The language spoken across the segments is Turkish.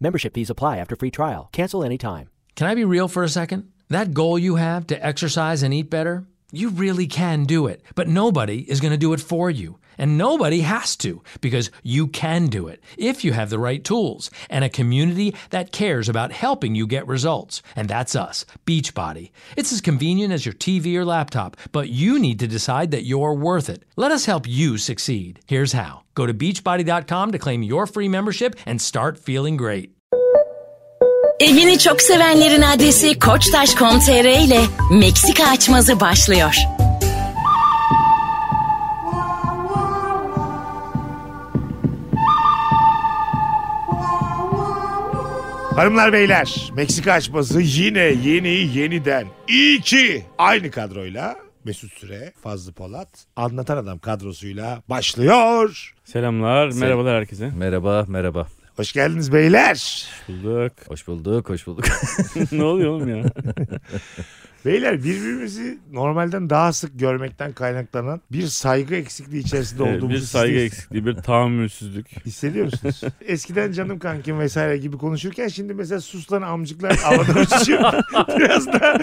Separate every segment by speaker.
Speaker 1: Membership fees apply after free trial. Cancel anytime.
Speaker 2: Can I be real for a second? That goal you have to exercise and eat better, you really can do it. But nobody is going to do it for you. And nobody has to because you can do it if you have the right tools and a community that cares about helping you get results. And that's us, Beachbody. It's as convenient as your TV or laptop, but you need to decide that you're worth it. Let us help you succeed. Here's how go to beachbody.com to claim your free membership and start feeling great.
Speaker 3: Evini çok sevenlerin adresi koçtaş.com.tr ile Meksika açmazı başlıyor.
Speaker 4: Hanımlar beyler Meksika açması yine yeni yeniden iyi ki aynı kadroyla Mesut Süre, Fazlı Polat, Anlatan Adam kadrosuyla başlıyor.
Speaker 5: Selamlar, merhabalar herkese.
Speaker 6: Merhaba, merhaba.
Speaker 4: Hoş geldiniz beyler.
Speaker 5: Bulduk.
Speaker 6: Hoş bulduk, hoş bulduk.
Speaker 5: ne oluyor oğlum ya? Ee,
Speaker 4: Beyler birbirimizi normalden daha sık görmekten kaynaklanan bir saygı eksikliği içerisinde olduğumuzu
Speaker 5: bir saygı
Speaker 4: siz de
Speaker 5: eksikliği, bir tahammülsüzlük.
Speaker 4: Hissediyor musunuz? Eskiden canım kankim vesaire gibi konuşurken şimdi mesela suslan amcıklar havada uçuşuyor. biraz daha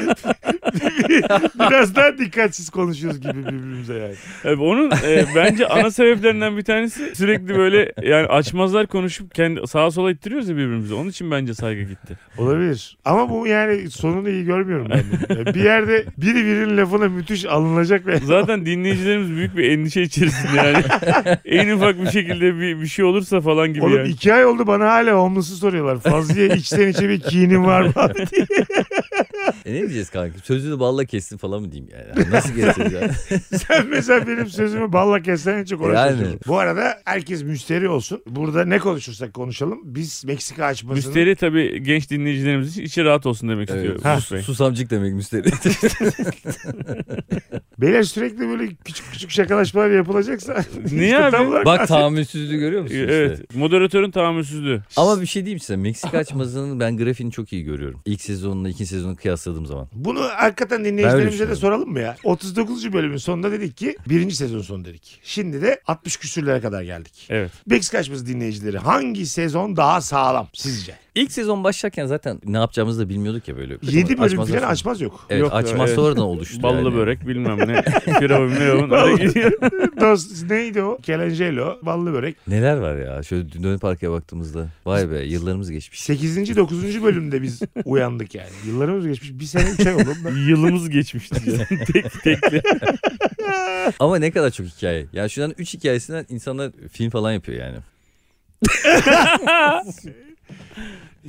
Speaker 4: biraz daha dikkatsiz konuşuyoruz gibi birbirimize yani.
Speaker 5: Evet, onun e, bence ana sebeplerinden bir tanesi sürekli böyle yani açmazlar konuşup kendi sağa sola ittiriyoruz ya birbirimizi. Onun için bence saygı gitti.
Speaker 4: Olabilir. Ama bu yani sonunu iyi görmüyorum ben. bunun. Bir yerde biri birinin lafına müthiş alınacak ve
Speaker 5: Zaten dinleyicilerimiz büyük bir endişe içerisinde yani. en ufak bir şekilde bir, bir şey olursa falan gibi
Speaker 4: Oğlum
Speaker 5: yani.
Speaker 4: iki ay oldu bana hala homeless'ı soruyorlar. Fazlı'ya içten içe bir kinin var mı?
Speaker 6: e ne diyeceğiz kanka? Sözünü balla kessin falan mı diyeyim yani? Hani Nasıl keseceğiz yani?
Speaker 4: Sen mesela benim sözümü balla kessen çok uğraşıyorsun.
Speaker 6: Yani.
Speaker 4: Bu arada herkes müşteri olsun. Burada ne konuşursak konuşalım. Biz Meksika açmasını...
Speaker 5: Müşteri tabii genç dinleyicilerimiz için içi rahat olsun demek istiyor.
Speaker 6: Evet,
Speaker 5: Mesut
Speaker 6: sus-
Speaker 5: Bey.
Speaker 6: susamcık demek müsteri.
Speaker 4: Beyler sürekli böyle küçük küçük şakalaşmalar yapılacaksa...
Speaker 5: Niye abi?
Speaker 4: Tam olarak-
Speaker 6: Bak tahammülsüzlüğü görüyor musun işte?
Speaker 5: Evet, moderatörün tahammülsüzlüğü.
Speaker 6: Ama bir şey diyeyim size. Meksika açmazının ben grafiğini çok iyi görüyorum. İlk sezonla ikinci sezonu kıyasladığım zaman.
Speaker 4: Bunu hakikaten
Speaker 6: Ben öyle
Speaker 4: dinleyicilerimize de
Speaker 6: düşünüyorum.
Speaker 4: soralım mı ya? 39. bölümün sonunda dedik ki birinci sezon sonu dedik. Şimdi de 60 küsürlere kadar geldik.
Speaker 5: Evet.
Speaker 4: Meksika açması dinleyicileri hangi sezon daha sağlam sizce?
Speaker 6: İlk sezon başlarken zaten ne yapacağımızı da bilmiyorduk ya böyle.
Speaker 4: 7 bölüm
Speaker 6: Açmazdan
Speaker 4: falan
Speaker 6: sonra-
Speaker 4: açmaz yok.
Speaker 6: Evet
Speaker 5: Yok,
Speaker 6: açmaz
Speaker 5: evet.
Speaker 6: sonradan oluştu
Speaker 5: Ballı
Speaker 6: yani.
Speaker 5: börek bilmem ne. Firavun Firavun. Oraya gidiyor.
Speaker 4: Dost neydi o? Kelangelo, ballı börek.
Speaker 6: Neler var ya şöyle dün dönüp arkaya baktığımızda. Vay be yıllarımız geçmiş.
Speaker 4: 8. 9. bölümde biz uyandık yani. Yıllarımız geçmiş. Bir sene 3 ay oldu.
Speaker 5: Yılımız geçmişti ya. Tek tekli.
Speaker 6: Ama ne kadar çok hikaye. Yani şundan 3 hikayesinden insanlar film falan yapıyor yani.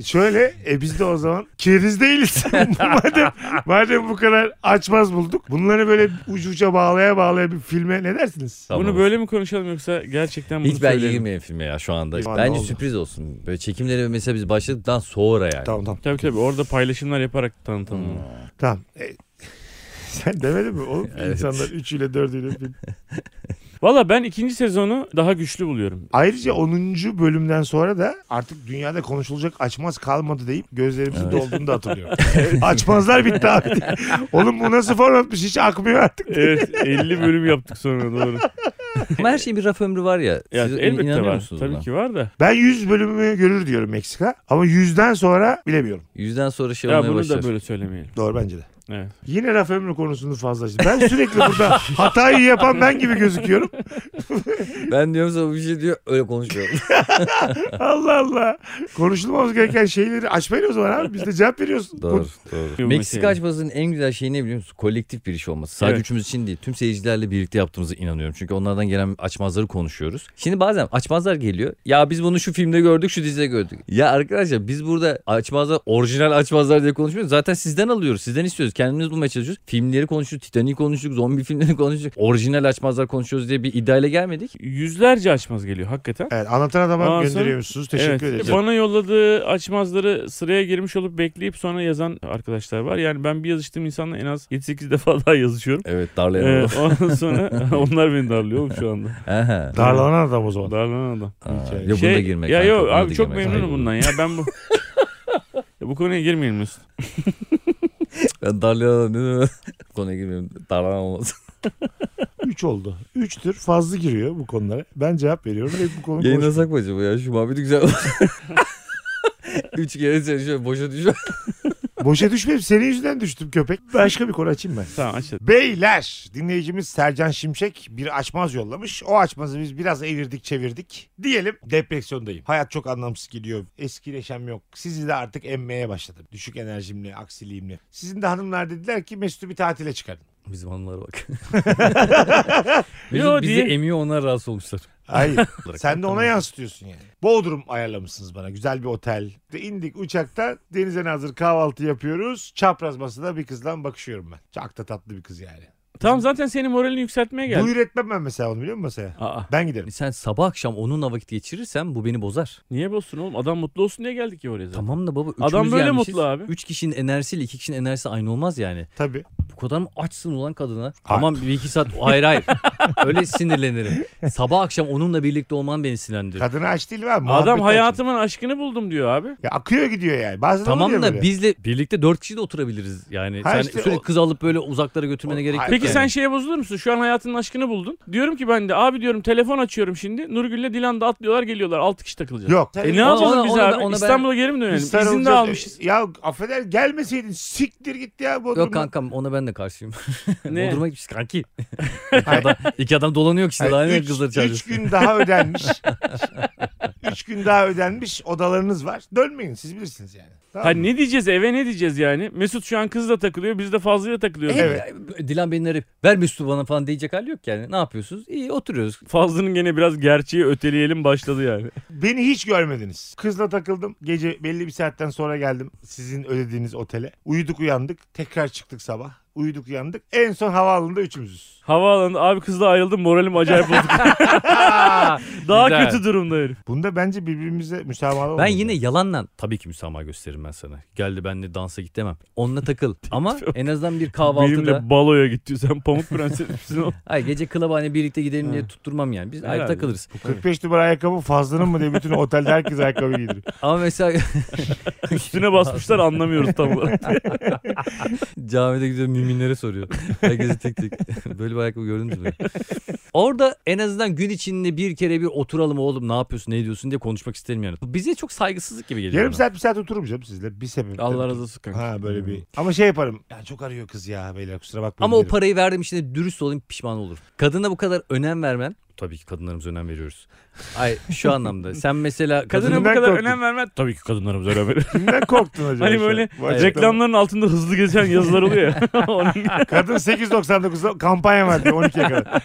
Speaker 4: Şöyle e biz de o zaman keriz değiliz. madem, madem bu kadar açmaz bulduk. Bunları böyle ucu uca bağlaya bağlaya bir filme ne dersiniz?
Speaker 6: Tamam.
Speaker 5: Bunu böyle mi konuşalım yoksa gerçekten bunu
Speaker 6: Hiç ben
Speaker 5: söyleyelim?
Speaker 6: girmeyeyim filme ya şu anda.
Speaker 4: Şu anda
Speaker 6: Bence
Speaker 4: oldu.
Speaker 6: sürpriz olsun. Böyle çekimlere mesela biz başladıktan sonra yani.
Speaker 4: Tamam tamam.
Speaker 5: Tabii tabii orada paylaşımlar yaparak tanıtalım.
Speaker 6: Hmm.
Speaker 4: tamam. E, sen demedin mi oğlum?
Speaker 6: Evet.
Speaker 4: İnsanlar üçüyle dördüyle film.
Speaker 5: Valla ben ikinci sezonu daha güçlü buluyorum.
Speaker 4: Ayrıca 10. bölümden sonra da artık dünyada konuşulacak açmaz kalmadı deyip gözlerimizi
Speaker 6: Evet.
Speaker 4: dolduğunu da hatırlıyorum. Açmazlar bitti abi. Oğlum bu nasıl formatmış hiç akmıyor artık.
Speaker 5: Evet 50 bölüm yaptık sonra doğru.
Speaker 6: Ama her şeyin bir raf ömrü var ya.
Speaker 5: Ya,
Speaker 6: Siz
Speaker 5: elbette
Speaker 6: inanıyor
Speaker 5: var.
Speaker 6: musunuz
Speaker 5: Tabii
Speaker 6: buna?
Speaker 5: ki var da.
Speaker 4: Ben 100 bölümü görür diyorum Meksika ama 100'den sonra bilemiyorum.
Speaker 6: Yüzden sonra şey
Speaker 5: Ya
Speaker 6: olmaya
Speaker 5: bunu
Speaker 6: başlar.
Speaker 5: da böyle söylemeyelim.
Speaker 4: Doğru bence de.
Speaker 5: Evet.
Speaker 4: Yine raf ömrü konusunu fazlalaştı. Ben sürekli burada hatayı yapan ben gibi gözüküyorum.
Speaker 6: Ben diyorum sana bir şey diyor öyle konuşuyorum.
Speaker 4: Allah Allah. Konuşulmamız gereken şeyleri açmayın o zaman abi. Biz de cevap veriyoruz.
Speaker 6: doğru
Speaker 4: Bu-
Speaker 6: doğru.
Speaker 5: Bu mesele.
Speaker 6: Meksika açmasının en güzel şeyi ne biliyor musun? Kolektif bir iş olması. Sadece
Speaker 5: Evet.
Speaker 6: üçümüz için değil. Tüm seyircilerle birlikte yaptığımızı inanıyorum. Çünkü onlardan gelen açmazları konuşuyoruz. Şimdi bazen açmazlar geliyor. Ya biz bunu şu filmde gördük şu dizide gördük. Ya arkadaşlar biz burada açmazlar orijinal açmazlar diye konuşmuyoruz. Zaten sizden alıyoruz. Sizden istiyoruz. Kendimiz bulmaya çalışıyoruz. Filmleri konuştuk. Titanic konuştuk. Zombi filmleri konuştuk. Orijinal açmazlar konuşuyoruz diye bir iddiayla gelmedik.
Speaker 5: Yüzlerce açmaz geliyor hakikaten.
Speaker 4: Evet, anlatan adama
Speaker 5: Ondan sonra-
Speaker 4: gönderiyormuşsunuz. Teşekkür
Speaker 5: Evet,
Speaker 4: ederiz.
Speaker 5: Bana yolladığı açmazları sıraya girmiş olup bekleyip sonra yazan arkadaşlar var. Yani ben bir yazıştığım insanla en az 7-8 defa daha yazışıyorum.
Speaker 6: Evet
Speaker 5: Ee,
Speaker 6: darlayalım.
Speaker 5: ondan sonra onlar beni darlıyor oğlum şu anda.
Speaker 6: Aha.
Speaker 4: Darlanan adam o zaman.
Speaker 5: Darlanan adam.
Speaker 6: Aa,
Speaker 4: Hikaye.
Speaker 6: Yok buna
Speaker 5: Şey-
Speaker 6: da girmek.
Speaker 5: Ya
Speaker 6: kanka,
Speaker 5: yok
Speaker 6: buna da
Speaker 5: abi çok
Speaker 6: girmek.
Speaker 5: memnunum
Speaker 6: Hayır.
Speaker 5: bundan ya. Ben bu ya bu konuya girmeyelim Mesut.
Speaker 6: Ben darlayan ne demek? Konuya girmiyorum. Darlayan olmaz.
Speaker 4: 3 oldu. 3'tür. Fazla giriyor bu konulara. Ben cevap veriyorum. Hep bu konu konuşuyor.
Speaker 6: Yayınlasak mı acaba ya? Şu muhabbeti güzel Üç kere seni şöyle boşa düşüyor.
Speaker 4: Boşa düşmeyeyim senin yüzünden düştüm köpek. Başka bir konu açayım ben.
Speaker 5: Tamam aç. hadi.
Speaker 4: Beyler dinleyicimiz Sercan Şimşek bir açmaz yollamış. O açmazı biz biraz evirdik çevirdik. Diyelim depresyondayım. Hayat çok anlamsız geliyor. Eskileşem yok. Sizi de artık emmeye başladım. Düşük enerjimle, aksiliğimle. Sizin de hanımlar dediler ki Mesut'u bir tatile çıkarın.
Speaker 6: Bizim hanımlara bak.
Speaker 5: Yo
Speaker 6: Mesut bizi
Speaker 5: diye.
Speaker 6: emiyor onlar rahatsız olmuşlar.
Speaker 4: Hayır. Sen de ona yansıtıyorsun yani. Bodrum ayarlamışsınız bana. Güzel bir otel. De indik uçakta denize nazır kahvaltı yapıyoruz. Çapraz masada bir kızla bakışıyorum ben. Çok da tatlı bir kız yani.
Speaker 5: Tamam zaten senin moralini yükseltmeye geldim.
Speaker 4: Buyur etmem ben mesela onu biliyor musun masaya?
Speaker 5: Aa,
Speaker 4: Ben giderim.
Speaker 6: Sen sabah akşam onunla vakit geçirirsen bu beni bozar.
Speaker 5: niye bozsun oğlum? Adam mutlu olsun diye geldik ya oraya zaten.
Speaker 6: Tamam da baba üçümüz
Speaker 5: Adam böyle
Speaker 6: gelmişiz.
Speaker 5: mutlu abi.
Speaker 6: Üç kişinin enerjisiyle iki kişinin enerjisi aynı olmaz yani.
Speaker 4: Tabii.
Speaker 6: Bu kadar mı açsın ulan kadına? Tamam bir iki saat. Hayır hayır. Öyle sinirlenirim. Sabah akşam onunla birlikte olman beni sinirlendirir.
Speaker 4: Kadını aç değil var. muhabbeti
Speaker 5: Adam
Speaker 4: aç.
Speaker 5: hayatımın aşkını buldum diyor abi.
Speaker 4: Ya akıyor gidiyor yani. Bazen oluyor
Speaker 6: Tamam da
Speaker 4: böyle.
Speaker 6: bizle birlikte dört kişi de oturabiliriz. Yani
Speaker 4: Ha
Speaker 6: sen
Speaker 4: işte
Speaker 6: sürekli
Speaker 4: o-
Speaker 6: kız alıp böyle uzaklara götürmene
Speaker 4: O-
Speaker 6: gerek yok.
Speaker 4: Hayır.
Speaker 5: Peki
Speaker 6: yani.
Speaker 5: sen şeye bozulur musun? Şu an hayatının aşkını buldun. Diyorum ki ben de abi diyorum telefon açıyorum şimdi. Nurgül'le Dilan da atlıyorlar geliyorlar. 6 kişi takılacağız.
Speaker 4: Yok.
Speaker 5: E ne
Speaker 6: Ona-
Speaker 5: yapalım biz
Speaker 6: ona
Speaker 5: abi?
Speaker 6: ben- ona ben-
Speaker 5: İstanbul'a geri mi dönelim?
Speaker 4: Biz
Speaker 5: İzin de
Speaker 4: sarılacağız.
Speaker 5: almışız.
Speaker 4: Ya affeder gelmeseydin siktir git ya Bodrum'a.
Speaker 6: Yok kankam ona ben de karşıyım.
Speaker 5: Ne?
Speaker 6: Bodrum'a gitmiş kanki.
Speaker 4: Hayır.
Speaker 6: adam, iki adam dolanıyor ki işte. Daha ne
Speaker 4: Yani
Speaker 6: kızları
Speaker 4: üç, üç
Speaker 6: çağırıyorsun?
Speaker 4: gün daha ödenmiş. üç gün daha ödenmiş odalarınız var. Dönmeyin siz bilirsiniz yani. Tamam
Speaker 5: Ha
Speaker 6: Hani-
Speaker 4: mı?
Speaker 5: ne diyeceğiz eve ne diyeceğiz yani? Mesut şu an kızla takılıyor biz de fazlıyla takılıyoruz.
Speaker 4: Evet.
Speaker 6: E, Dilan beni arayıp ver Mesut'u bana falan diyecek hali yok yani. Ne yapıyorsunuz? İyi oturuyoruz.
Speaker 5: Fazlının gene biraz gerçeği öteleyelim başladı yani.
Speaker 4: Beni hiç görmediniz. Kızla takıldım. Gece belli bir saatten sonra geldim sizin ödediğiniz otele. Uyuduk uyandık. Tekrar çıktık sabah. Uyuduk uyandık. En son havaalanında üçümüzüz.
Speaker 5: Havaalanında abi kızla ayrıldım moralim acayip bozuk. Daha
Speaker 6: Güzel.
Speaker 5: kötü durumda herif.
Speaker 4: Bunda bence birbirimize müsamaha olmadı.
Speaker 6: Ben yine yalanla tabii ki müsamaha gösteririm ben sana. Geldi benle dansa git demem. Onunla takıl. Ama en azından bir kahvaltıda.
Speaker 5: Benimle baloya gitti. Sen pamuk prenses misin oğlum?
Speaker 6: Ay gece klaba hani birlikte gidelim diye tutturmam yani. Biz ayrı
Speaker 5: Herhalde.
Speaker 6: takılırız.
Speaker 4: 45 numara ayakkabı fazlanın mı diye bütün otelde herkes ayakkabı giydiriyor.
Speaker 6: Ama mesela
Speaker 5: Üstüne basmışlar anlamıyoruz tam olarak.
Speaker 6: Camide gidiyor müminlere soruyor. Herkese tek tek. Böyle bir ayakkabı gördünüz mü? Orada en azından gün içinde bir kere bir oturalım oğlum ne yapıyorsun ne ediyorsun diye konuşmak isterim yani. Bu Bize çok saygısızlık gibi geliyor.
Speaker 4: Yarım
Speaker 6: bana.
Speaker 4: saat bir saat otururum canım sizle. Bir sebep.
Speaker 5: Allah razı olsun kanka.
Speaker 4: Ha böyle bir. Ama şey yaparım. Ya çok arıyor kız ya beyler kusura bakmayın.
Speaker 6: Ama o
Speaker 4: derim.
Speaker 6: parayı verdiğim için de dürüst olayım pişman olurum. Kadına bu kadar önem vermen. Tabii ki kadınlarımıza önem veriyoruz. Ay şu anlamda sen mesela
Speaker 5: Kadına bu
Speaker 4: Kadından
Speaker 5: kadar
Speaker 4: korktum.
Speaker 5: önem vermen tabii ki kadınlarımıza önem verir.
Speaker 4: Kimden korktun acaba?
Speaker 5: hani
Speaker 4: şu an?
Speaker 5: böyle
Speaker 4: Bu açıklama-
Speaker 5: reklamların altında hızlı geçen yazılar oluyor ya. Onun gibi.
Speaker 4: Kadın 8.99'da kampanya var diyor 12'ye kadar.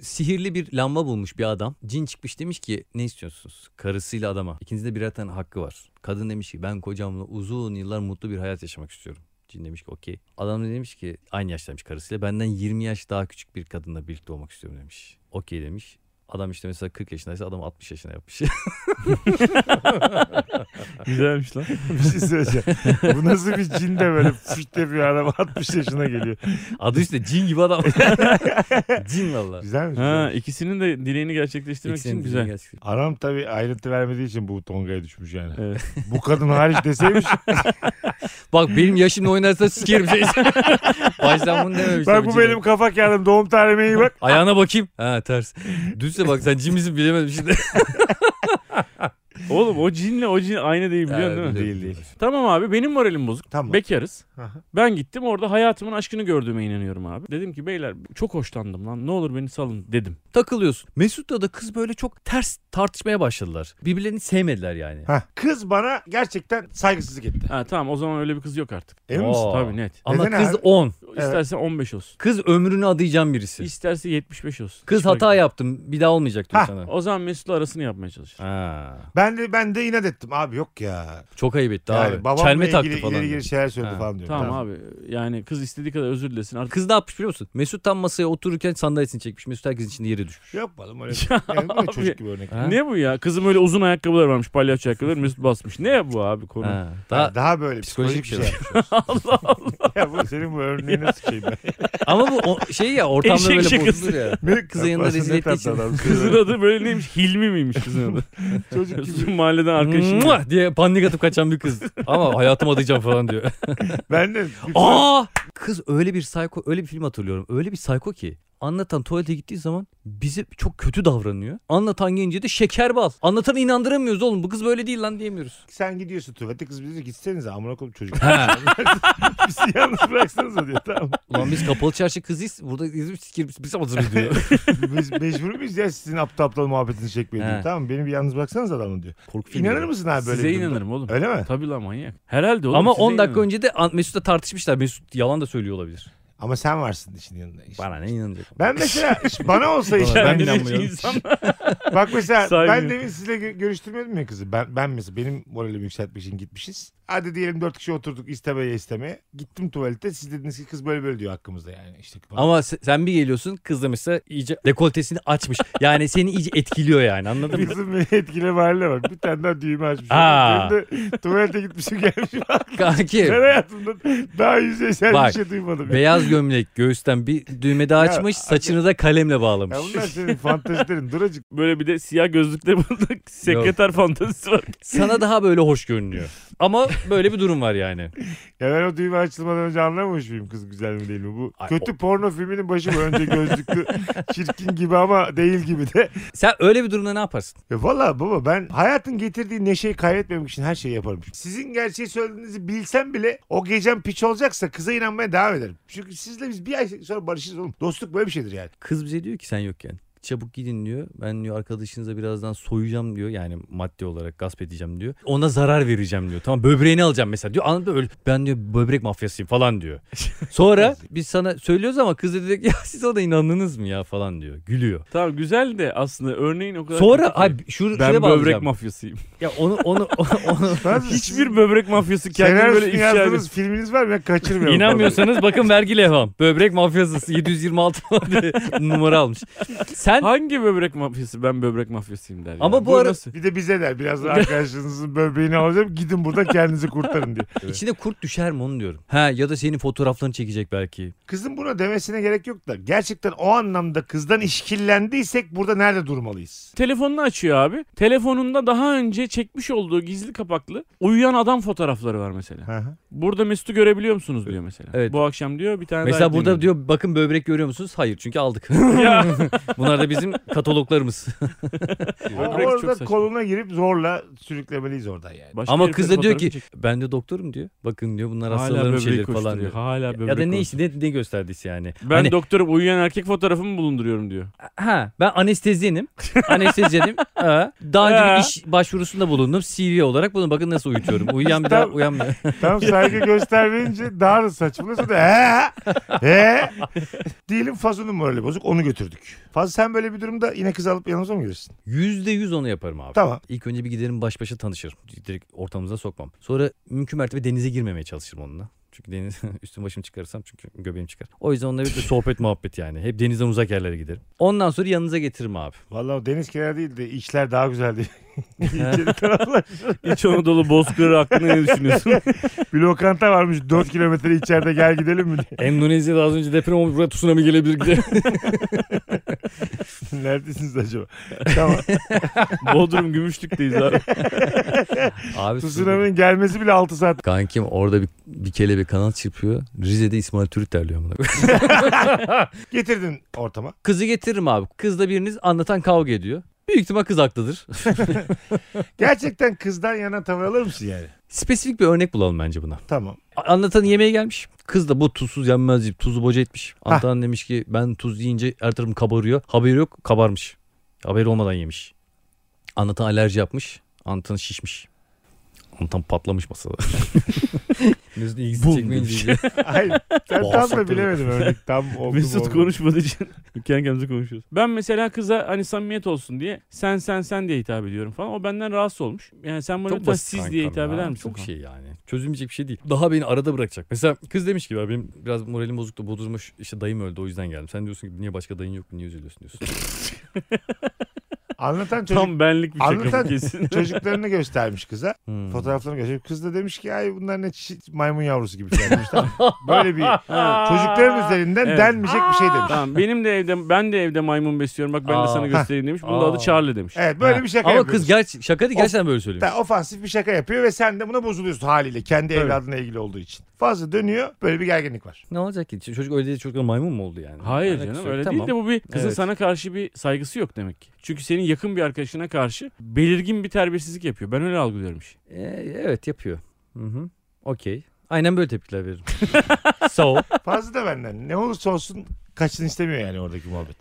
Speaker 6: sihirli bir lamba bulmuş bir adam. Cin çıkmış demiş ki ne istiyorsunuz? Karısıyla adama. İkinizin de birer tane hakkı var. Kadın demiş ki ben kocamla uzun yıllar mutlu bir hayat yaşamak istiyorum. Cin demiş ki okey. Adam da demiş ki aynı yaştaymış karısıyla benden 20 yaş daha küçük bir kadınla birlikte olmak istiyorum demiş. Okey demiş. Adam işte mesela 40 yaşındaysa adam 60 yaşına yapmış.
Speaker 5: Güzelmiş lan.
Speaker 4: bir şey söyleyeceğim. Bu nasıl bir cin de böyle fışt yapıyor adam 60 yaşına geliyor.
Speaker 6: Adı işte cin gibi adam. cin valla.
Speaker 4: Güzel mi?
Speaker 5: Ha, ikisinin de dileğini gerçekleştirmek
Speaker 6: İkisinin
Speaker 5: için güzel.
Speaker 6: gerçekten.
Speaker 4: Anam tabii ayrıntı vermediği için bu Tonga'ya düşmüş yani.
Speaker 5: Evet.
Speaker 4: Bu kadın hariç deseymiş.
Speaker 6: Bak benim yaşımla oynarsa sikerim seni. Baştan bunu dememiştim.
Speaker 4: Bak bu
Speaker 6: Cin'e.
Speaker 4: benim kafa kağıdım doğum tarihime iyi bak.
Speaker 6: Ayağına bakayım. Ha ters. Düzse bak sen cin misin bilemedim şimdi.
Speaker 5: Oğlum o cinle o cin aynı değil biliyorsun değil
Speaker 4: Değil,
Speaker 5: mi?
Speaker 4: değil.
Speaker 5: Tamam abi benim moralim bozuk.
Speaker 4: Tamam.
Speaker 5: Bekarız.
Speaker 4: Aha.
Speaker 5: Ben gittim orada hayatımın aşkını gördüğüme inanıyorum abi. Dedim ki beyler çok hoşlandım lan ne olur beni salın dedim.
Speaker 6: Takılıyorsun. Mesut'la da kız böyle çok ters tartışmaya başladılar. Birbirlerini sevmediler yani.
Speaker 4: Hah. Kız bana gerçekten saygısızlık etti.
Speaker 5: Ha tamam o zaman öyle bir kız yok artık.
Speaker 4: Emin
Speaker 6: Oo.
Speaker 4: misin?
Speaker 5: Tabii net.
Speaker 6: Ama
Speaker 4: Neden
Speaker 6: kız
Speaker 4: abi?
Speaker 6: 10.
Speaker 5: İsterse 15 olsun.
Speaker 6: Kız ömrünü adayacağım birisi.
Speaker 5: İsterse 75 olsun.
Speaker 6: Kız
Speaker 5: Hiç fark
Speaker 6: hata
Speaker 5: etmez.
Speaker 6: yaptım. Bir daha olmayacak diyor
Speaker 4: Ha.
Speaker 6: sana.
Speaker 5: O zaman Mesut'la arasını yapmaya çalışır.
Speaker 6: Ha.
Speaker 4: Ben de ben de inat ettim abi yok ya.
Speaker 6: Çok ayıp etti
Speaker 4: Yani
Speaker 6: abi.
Speaker 4: babamla
Speaker 6: Çelme
Speaker 4: ilgili
Speaker 6: taktı
Speaker 4: ileri
Speaker 6: falan.
Speaker 4: geri şeyler söyledi
Speaker 6: Ha.
Speaker 4: falan diyor.
Speaker 5: Tamam, abi yani kız istediği kadar özür dilesin artık.
Speaker 6: Kız ne yapmış biliyor musun? Mesut tam masaya otururken sandalyesini çekmiş. Mesut herkesin içinde yere düşmüş.
Speaker 4: Yok oğlum öyle. Yani bu ne çocuk gibi örnek.
Speaker 6: Ha?
Speaker 5: Ne bu ya? Kızım öyle uzun ayakkabılar varmış palyaço ayakkabılar Mesut basmış. Ne bu abi konu?
Speaker 6: Ha. Daha,
Speaker 4: Daha, daha böyle psikolojik,
Speaker 6: psikolojik
Speaker 4: bir şey.
Speaker 5: Allah Allah.
Speaker 4: ya bu senin bu örneğine sıçayım ben.
Speaker 6: ama bu o- şey ya ortamda
Speaker 5: Eşek
Speaker 6: böyle
Speaker 5: şakası.
Speaker 6: bozulur ya.
Speaker 4: Ne
Speaker 6: Kızın yanında rezil ettiği için.
Speaker 5: Kızın adı böyle neymiş? Hilmi miymiş kızın adı?
Speaker 4: Çocuk
Speaker 5: Bizim mahalleden arkadaşım.
Speaker 6: Mua diye panik atıp kaçan bir kız. Ama hayatımı adayacağım falan diyor.
Speaker 4: Ben de
Speaker 6: Aa! Kız öyle bir psycho, öyle bir film hatırlıyorum. Öyle bir psycho ki. Anlatan tuvalete gittiği zaman bize çok kötü davranıyor. Anlatan gence de şeker bal. Anlatanı inandıramıyoruz oğlum. Bu kız böyle değil lan diyemiyoruz.
Speaker 4: Sen gidiyorsun tuvalete kız bize diyor ki, gitsenize amına koyayım çocuk.
Speaker 2: Ha.
Speaker 4: Bizi yalnız bıraksanıza diyor tamam.
Speaker 6: Ulan biz kapalı çarşı kızıyız. Burada izim sikir biz amazımız diyor.
Speaker 4: Biz mecbur muyuz ya sizin aptal aptal muhabbetini çekmeye diyor.
Speaker 6: He.
Speaker 4: Tamam beni bir yalnız bıraksanız adamı diyor.
Speaker 6: Korku filmi.
Speaker 4: İnanır mısın abi böyle
Speaker 5: Size
Speaker 4: bir durumda?
Speaker 5: inanırım oğlum.
Speaker 4: Öyle mi?
Speaker 5: Tabii lan manyak. Herhalde oğlum.
Speaker 6: Ama
Speaker 5: size
Speaker 6: 10 dakika
Speaker 5: inanırım.
Speaker 6: önce de An- Mesut'la tartışmışlar. Mesut yalan da söylüyor olabilir.
Speaker 4: Ama sen varsın işin yanında. işte.
Speaker 6: Bana ne inanacak?
Speaker 4: Ben mesela bana olsa işte.
Speaker 6: Ben
Speaker 4: ben
Speaker 5: Yani
Speaker 6: inanmıyorum.
Speaker 5: insan-
Speaker 4: Bak mesela ben
Speaker 5: Saymıyor.
Speaker 4: demin sizinle gö- görüştürmedim ya kızı. Ben, ben mesela benim moralimi yükseltmek için gitmişiz. Hadi diyelim dört kişi oturduk istemeye istemeye. Gittim tuvalete siz dediniz ki kız böyle böyle diyor hakkımızda yani. İşte bana-
Speaker 6: Ama se- sen bir geliyorsun kız da mesela iyice dekoltesini açmış. Yani seni iyice etkiliyor yani anladın mı?
Speaker 4: Kızın beni etkile haline bak. Bir tane daha düğme açmış.
Speaker 6: Aa.
Speaker 4: Benim de tuvalete gitmişim gelmişim.
Speaker 6: Kanki
Speaker 4: Ben hayatımda daha yüzeysel
Speaker 6: Bak,
Speaker 4: bir şey duymadım. ya.
Speaker 6: beyaz gömlek göğüsten bir düğme daha
Speaker 4: Ya,
Speaker 6: açmış saçını da kalemle bağlamış.
Speaker 4: Ya bunlar senin fantezilerin. Dur acık.
Speaker 5: Böyle bir de siyah gözlükle burada sekreter fantezisi var.
Speaker 4: şey-
Speaker 6: Sana daha böyle hoş görünüyor. Ama böyle bir durum var yani.
Speaker 4: Ya ben o düğme açılmadan önce anlamamış mıyım kız güzel mi değil mi? Bu
Speaker 6: Ay,
Speaker 4: kötü porno filminin başı bu. Önce gözlüklü çirkin gibi ama değil gibi de.
Speaker 6: Sen öyle bir durumda ne yaparsın?
Speaker 4: Ya valla baba ben hayatın getirdiği neşeyi kaybetmemek için her şeyi yaparım. Sizin gerçeği söylediğinizi bilsem bile o gecem piç olacaksa kıza inanmaya devam ederim. Çünkü sizle biz bir ay sonra barışırız oğlum. Dostluk böyle bir şeydir yani.
Speaker 6: Kız bize diyor ki sen yokken. Çabuk gidin diyor. Ben diyor arkadaşınıza birazdan soyacağım diyor. Yani maddi olarak gasp edeceğim diyor. Ona zarar vereceğim diyor. Tamam böbreğini alacağım mesela diyor. Anladın mı? Öyle, ben diyor böbrek mafyasıyım falan diyor. Sonra biz sana söylüyoruz ama kız da diyor ki ya siz ona inandınız mı ya falan diyor. Gülüyor.
Speaker 5: Tamam güzel de aslında örneğin o kadar
Speaker 6: Sonra
Speaker 5: kötü ki.
Speaker 6: ay şur,
Speaker 5: ben
Speaker 6: şuraya
Speaker 5: böbrek
Speaker 6: bağlayacağım.
Speaker 5: mafyasıyım.
Speaker 6: ya onu onu onu
Speaker 5: Hiçbir böbrek mafyası kendini
Speaker 4: Senaryosu
Speaker 5: böyle ifşa ediyor.
Speaker 4: yazdığınız filminiz var mı? Ben kaçırmıyorum.
Speaker 6: İnanmıyorsanız bakın vergi levham. Böbrek mafyası 726 diye numara almış. Sen
Speaker 5: Hangi böbrek mafyası? Ben böbrek mafyasıyım der.
Speaker 6: Ama
Speaker 5: ya.
Speaker 6: bu ara-
Speaker 5: nasıl?
Speaker 4: Bir de bize der. Birazdan arkadaşınızın böbreğini alacağım. Gidin buradan kendinizi kurtarın diye.
Speaker 6: içine kurt düşer mi onu diyorum. Ha ya da senin fotoğraflarını çekecek belki.
Speaker 4: Kızın buna demesine gerek yok da gerçekten o anlamda kızdan işkillendiysek burada nerede durmalıyız?
Speaker 5: Telefonunu açıyor abi. Telefonunda daha önce çekmiş olduğu gizli kapaklı uyuyan adam fotoğrafları var mesela. Burada Mesut'u görebiliyor musunuz diyor mesela.
Speaker 6: Evet.
Speaker 5: Bu akşam diyor bir tane
Speaker 6: Mesela
Speaker 5: daha
Speaker 6: burada
Speaker 5: dinleyin.
Speaker 6: diyor bakın böbrek görüyor musunuz? Hayır çünkü aldık.
Speaker 5: Ya.
Speaker 6: Bunlar da bizim kataloglarımız.
Speaker 5: Böbrek çok
Speaker 4: orada
Speaker 5: saçma.
Speaker 4: koluna girip zorla sürüklemeliyiz oradan yani.
Speaker 5: Başka
Speaker 6: Ama
Speaker 5: heriflerin
Speaker 6: kız da diyor
Speaker 5: fotoğrafını
Speaker 6: ki
Speaker 5: çek-
Speaker 6: ben de doktorum diyor. Bakın diyor bunlar
Speaker 5: hala
Speaker 6: hastaların
Speaker 5: böbreği
Speaker 6: şeyleri falan diyor.
Speaker 5: koşturuyor. Hala böbrek
Speaker 6: Ya da ne
Speaker 5: koşturuyor.
Speaker 6: işte ne, ne gösterdiyse yani.
Speaker 5: Ben
Speaker 6: Hani-
Speaker 5: doktorum uyuyan erkek fotoğrafımı bulunduruyorum diyor.
Speaker 6: Ha ben anestezyenim. anestezyenim. Ha, daha önce bir iş başvurusunda bulundum. CV olarak bunu bakın nasıl uyutuyorum. Uyuyan bir daha uyanmıyor.
Speaker 4: Tam saygı göstermeyince daha da saçmalıyorsun da he he diyelim Fazlı'nın morali bozuk onu götürdük. Fazlı sen böyle bir durumda yine kız alıp yanımıza mı gelirsin?
Speaker 6: Yüzde yüz onu yaparım abi.
Speaker 4: Tamam.
Speaker 6: İlk önce bir giderim baş başa tanışırım. Direkt ortamımıza sokmam. Sonra mümkün mertebe denize girmemeye çalışırım onunla. Çünkü deniz üstüm başım çıkarırsam çünkü göbeğim çıkar. O yüzden onunla bir de sohbet muhabbet yani. Hep denizden uzak yerlere giderim. Ondan sonra yanınıza getiririm abi.
Speaker 4: Vallahi o deniz kenarı değil de içler daha güzeldi. İçeri taraflar.
Speaker 5: İç Anadolu bozkırı hakkında ne düşünüyorsun?
Speaker 4: bir lokanta varmış 4 kilometre içeride gel gidelim mi diye.
Speaker 6: Endonezya'da az önce deprem olmuş. Buraya tsunami gelebilir gider.
Speaker 4: Neredesiniz acaba? Tamam.
Speaker 5: Bodrum Gümüşlük'teyiz abi.
Speaker 6: abi
Speaker 4: Tsunami'nin gelmesi bile 6 saat.
Speaker 6: Kankim orada bir, bir kelebek kanat çırpıyor. Rize'de İsmail Türk terliyor amına koyayım.
Speaker 4: Getirdin ortama.
Speaker 6: Kızı getiririm abi. Kızla biriniz anlatan kavga ediyor. Büyük ihtimal kız haklıdır.
Speaker 4: Gerçekten kızdan yana tavır alır mısın yani?
Speaker 6: Spesifik bir örnek bulalım bence buna.
Speaker 4: Tamam.
Speaker 6: A- Anlatan yemeğe gelmiş. Kız da bu tuzsuz yenmez deyip tuzu boca etmiş.
Speaker 4: Hah.
Speaker 6: Anlatan demiş ki ben tuz yiyince her tarafım kabarıyor. Haberi yok kabarmış. Haberi olmadan yemiş. Anlatan alerji yapmış. Anlatan şişmiş. Anlatan patlamış masada. Mesut ilgisi çekmeyince.
Speaker 4: Hayır. Ben tam da
Speaker 6: Bağırsakları-
Speaker 4: bilemedim örnek. Tam oldu.
Speaker 5: Mesut
Speaker 4: olmadı.
Speaker 5: konuşmadığı için kendi kendimize konuşuyoruz. Ben mesela kıza hani samimiyet olsun diye sen sen sen diye hitap ediyorum falan. O benden rahatsız olmuş. Yani sen bana lütfen siz diye hitap eder misin?
Speaker 6: Çok
Speaker 5: falan.
Speaker 6: şey yani. Çözülmeyecek bir şey değil. Daha beni arada bırakacak. Mesela kız demiş ki ya benim biraz moralim bozuktu. Bodurmuş işte dayım öldü o yüzden geldim. Sen diyorsun ki niye başka dayın yok mu? Niye üzülüyorsun diyorsun.
Speaker 4: Anlatan çocuk
Speaker 5: Tam benlik bir şaka
Speaker 4: Anlatan-
Speaker 5: bu kesin.
Speaker 4: çocuklarını göstermiş kıza.
Speaker 6: Hmm.
Speaker 4: Fotoğraflarını göstermiş. Kız da demiş ki ay bunlar ne çi- maymun yavrusu gibi falan demiş. Tamam. Böyle bir çocukların üzerinden
Speaker 5: Evet.
Speaker 4: denmeyecek bir şey demiş.
Speaker 5: Tamam benim de evde ben de evde maymun besliyorum. Bak ben
Speaker 6: Aa.
Speaker 5: de sana göstereyim demiş. Bunun da
Speaker 6: Aa.
Speaker 5: adı Charlie demiş.
Speaker 4: Evet böyle bir şaka
Speaker 6: Ama
Speaker 4: yapıyor.
Speaker 6: kız gerçi şaka değil
Speaker 4: Of.
Speaker 6: gerçekten böyle söylüyor.
Speaker 4: Ta- ofansif bir şaka yapıyor ve sen de buna bozuluyorsun haliyle. Kendi
Speaker 5: Evet.
Speaker 4: evladına ilgili olduğu için. Fazla dönüyor. Böyle bir gerginlik var.
Speaker 6: Ne olacak ki? Çocuk öyle değil çocuklar maymun mu oldu yani?
Speaker 5: Hayır
Speaker 6: Alakası
Speaker 5: canım
Speaker 6: yok.
Speaker 5: öyle
Speaker 6: Tamam.
Speaker 5: değil de bu bir kızın
Speaker 6: Evet.
Speaker 5: sana karşı bir saygısı yok demek ki. Çünkü senin yakın bir arkadaşına karşı belirgin bir terbiyesizlik yapıyor. Ben öyle algılıyorum işi.
Speaker 6: Ee, evet yapıyor. Hı hı. Okey. Aynen böyle tepkiler veririm. so.
Speaker 4: Fazla da benden. Ne olursa olsun kaçsın istemiyor yani oradaki muhabbet.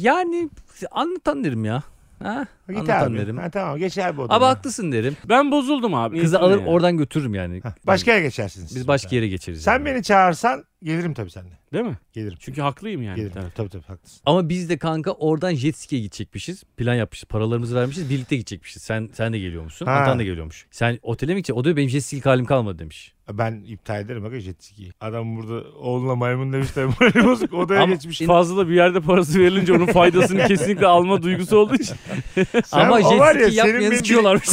Speaker 6: Yani anlatan derim ya. Ha?
Speaker 4: Git
Speaker 6: Anlatan
Speaker 4: abi.
Speaker 6: derim.
Speaker 4: Ha, tamam geçer bu
Speaker 6: Abi
Speaker 4: odama.
Speaker 6: haklısın derim.
Speaker 5: Ben bozuldum abi.
Speaker 6: Kızı
Speaker 5: Niyetine
Speaker 6: alır
Speaker 5: yani.
Speaker 6: oradan götürürüm yani. Hani
Speaker 4: Heh, Başka yere geçersiniz.
Speaker 6: Biz başka yere geçeriz.
Speaker 4: Sen
Speaker 6: yani.
Speaker 4: beni çağırsan gelirim tabii seninle.
Speaker 5: Değil mi?
Speaker 4: Gelirim.
Speaker 5: Çünkü haklıyım yani.
Speaker 4: gelirim.
Speaker 5: bir taraf.
Speaker 4: Tabii tabii haklısın.
Speaker 6: Ama biz de kanka oradan jet ski'ye gidecekmişiz. Plan yapmışız. Paralarımızı vermişiz. Birlikte gidecekmişiz. Sen sen de geliyormuşsun.
Speaker 4: Ha.
Speaker 6: Antan da geliyormuş. Sen otele mi gideceksin? O diyor benim jet ski halim kalmadı demiş.
Speaker 4: Ben iptal ederim aga jet ski'yi. Adam burada oğluna maymun demiş de morali bozuk odaya
Speaker 5: Ama
Speaker 4: geçmiş.
Speaker 5: fazla da bir yerde parası verilince onun faydasını kesinlikle alma duygusu olduğu için.
Speaker 4: Sen-
Speaker 6: Ama
Speaker 4: o var ya,
Speaker 6: jet ski
Speaker 4: senin
Speaker 6: yapmayanı
Speaker 4: benim-
Speaker 6: sikiyorlarmış.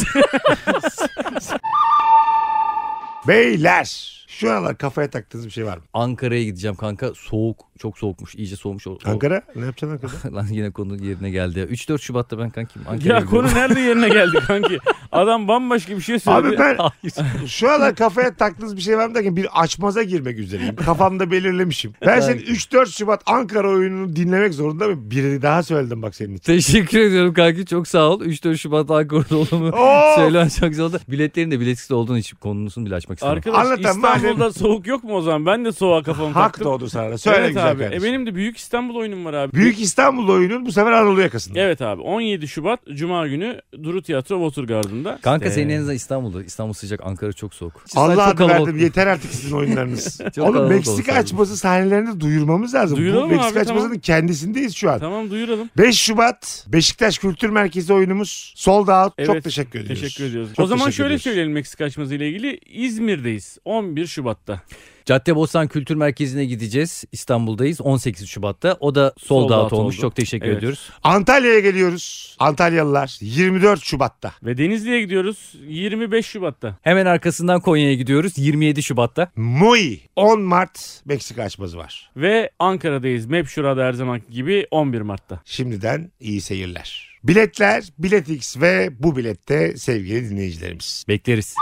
Speaker 4: Beyler şu aralar kafaya taktığınız bir şey var mı?
Speaker 6: Ankara'ya gideceğim kanka. Soğuk. Çok soğukmuş. İyice soğumuş. O- o-
Speaker 4: Ankara? Ne yapacaksın Ankara'da?
Speaker 6: Lan yine konu yerine geldi. ya. 3-4 Şubat'ta ben kankim Ankara'ya
Speaker 5: ya konu
Speaker 6: gidiyorum.
Speaker 5: nerede yerine geldi kanki? Adam bambaşka bir şey söylüyor.
Speaker 4: Abi ben
Speaker 6: Hayır.
Speaker 4: şu aralar kafaya taktığınız bir şey var mı derken bir açmaza girmek üzereyim. Kafamda belirlemişim. Ben senin 3-4 Şubat Ankara oyununu dinlemek zorunda mıyım? Biri daha söyledim bak senin için.
Speaker 6: Teşekkür ediyorum kanki. Çok sağ ol. 3-4 Şubat Ankara'da olduğumu
Speaker 4: Oo!
Speaker 6: söylemen çok güzel oldu. Biletlerin de biletsiz olduğun için konusunu bile açmak istemem.
Speaker 5: Arkadaş
Speaker 4: Anlatan
Speaker 5: İstanbul'da soğuk yok mu o zaman? Ben de soğuğa kafamı
Speaker 4: Hak
Speaker 5: taktım.
Speaker 4: doğdu sana. da. Söyle
Speaker 5: evet
Speaker 4: güzel
Speaker 5: abi. E
Speaker 4: kardeşim.
Speaker 5: benim de Büyük İstanbul oyunum var abi.
Speaker 4: Büyük İstanbul oyunun bu sefer Anadolu yakasında.
Speaker 5: Evet abi 17 Şubat Cuma günü Duru Tiyatro Watergarden'da.
Speaker 6: Kanka
Speaker 5: Ee,
Speaker 6: senin en azından İstanbul'da. İstanbul sıcak, Ankara çok soğuk.
Speaker 4: Allah
Speaker 6: Çok
Speaker 4: adı
Speaker 6: kalabalık.
Speaker 4: verdim yeter artık sizin oyunlarınız. Oğlum
Speaker 6: kalabalık
Speaker 4: Meksika
Speaker 6: oldu.
Speaker 4: açması sahnelerini duyurmamız lazım. Bu
Speaker 5: Duyuralım
Speaker 4: Meksika
Speaker 5: abi,
Speaker 4: açmasının
Speaker 5: tamam.
Speaker 4: kendisindeyiz şu an.
Speaker 5: Tamam duyuralım.
Speaker 4: 5 Şubat Beşiktaş Kültür Merkezi oyunumuz sold out. Çok
Speaker 5: Evet,
Speaker 4: teşekkür ediyoruz.
Speaker 5: Teşekkür ediyoruz.
Speaker 4: Çok
Speaker 5: o zaman
Speaker 4: teşekkür
Speaker 5: şöyle
Speaker 4: ediyoruz.
Speaker 5: söyleyelim Meksika açması ile ilgili. İzmir'deyiz 11 Şubat'ta.
Speaker 6: Caddebostan Kültür Merkezi'ne gideceğiz. İstanbul'dayız 18 Şubat'ta. O da sold,
Speaker 5: Sold
Speaker 6: out,
Speaker 5: out
Speaker 6: olmuş.
Speaker 5: oldu.
Speaker 6: Çok teşekkür
Speaker 5: Evet.
Speaker 6: ediyoruz.
Speaker 4: Antalya'ya geliyoruz. Antalyalılar 24 Şubat'ta.
Speaker 5: Ve Denizli'ye gidiyoruz 25 Şubat'ta.
Speaker 6: Hemen arkasından Konya'ya gidiyoruz 27 Şubat'ta.
Speaker 4: Muy 10 Mart Meksika açması var.
Speaker 5: Ve Ankara'dayız. Map şurada her zamanki gibi 11 Mart'ta.
Speaker 4: Şimdiden iyi seyirler. Biletler Biletix ve bu bilette sevgili dinleyicilerimiz.
Speaker 6: Bekleriz.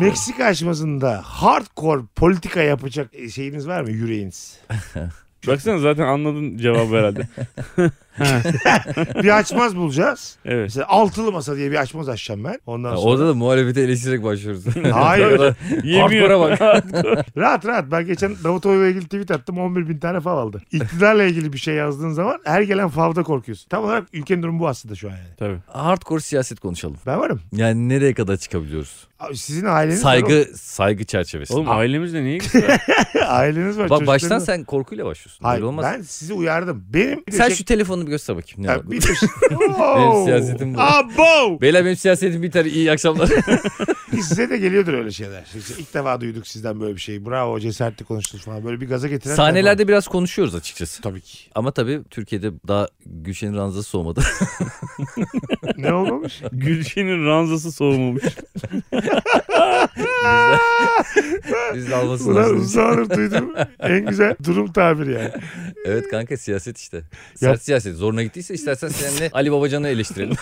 Speaker 4: Meksika aşmasında hardcore politika yapacak şeyiniz var mı yüreğiniz?
Speaker 5: Baksana zaten anladın cevabı herhalde.
Speaker 4: Bir açmaz bulacağız.
Speaker 5: Evet.
Speaker 4: Mesela altılı masa diye bir açmaz açacağım ben. Ondan sonra.
Speaker 6: Orada da muhalefete eleştirerek başlıyoruz.
Speaker 4: Hayır.
Speaker 5: Yemiyor.
Speaker 4: rahat rahat. Ben geçen Davutoğlu'yla ilgili tweet attım. 11 bin tane fav aldı. İktidarla ilgili bir şey yazdığın zaman her gelen favda korkuyorsun. Tam olarak ülkenin durumu bu aslında şu an yani.
Speaker 5: Tabii.
Speaker 6: Hardcore siyaset konuşalım.
Speaker 4: Ben varım.
Speaker 6: Yani nereye kadar çıkabiliyoruz?
Speaker 4: Abi Sizin aileniz var.
Speaker 6: Saygı saygı çerçevesi.
Speaker 5: Oğlum ailemizle niye ilgisi var?
Speaker 4: oğlum. Aileniz var.
Speaker 6: Bak baştan
Speaker 4: çocuklarınız var.
Speaker 6: sen korkuyla başlıyorsun.
Speaker 4: Hayır,
Speaker 6: Böyle olmaz.
Speaker 4: ben sizi uyardım. Benim şey-
Speaker 6: Sen şu telefonu bir göster bakayım. Ne var?
Speaker 4: Ya, bir de şey-
Speaker 6: Benim siyasetim bu.
Speaker 4: Abo!
Speaker 6: Beyler benim siyasetim biter. İyi akşamlar.
Speaker 4: Size de geliyordur öyle şeyler. İşte ilk defa duyduk sizden böyle bir şey. Bravo cesaretli konuştunuz falan. Böyle bir gaza getiren.
Speaker 6: Sahnelerde biraz konuşuyoruz açıkçası.
Speaker 4: Tabii ki.
Speaker 6: Ama tabii Türkiye'de daha Gülşen'in ranzası soğumadı.
Speaker 4: Ne olmamış?
Speaker 5: Gülşen'in ranzası soğumamış.
Speaker 6: Biz de almasın
Speaker 4: Ulan
Speaker 6: lazım.
Speaker 4: uzanır duydum. En güzel durum tabiri yani.
Speaker 6: Evet kanka siyaset işte. Sert siyaset. Zoruna gittiyse istersen seninle Ali Babacan'ı eleştirelim.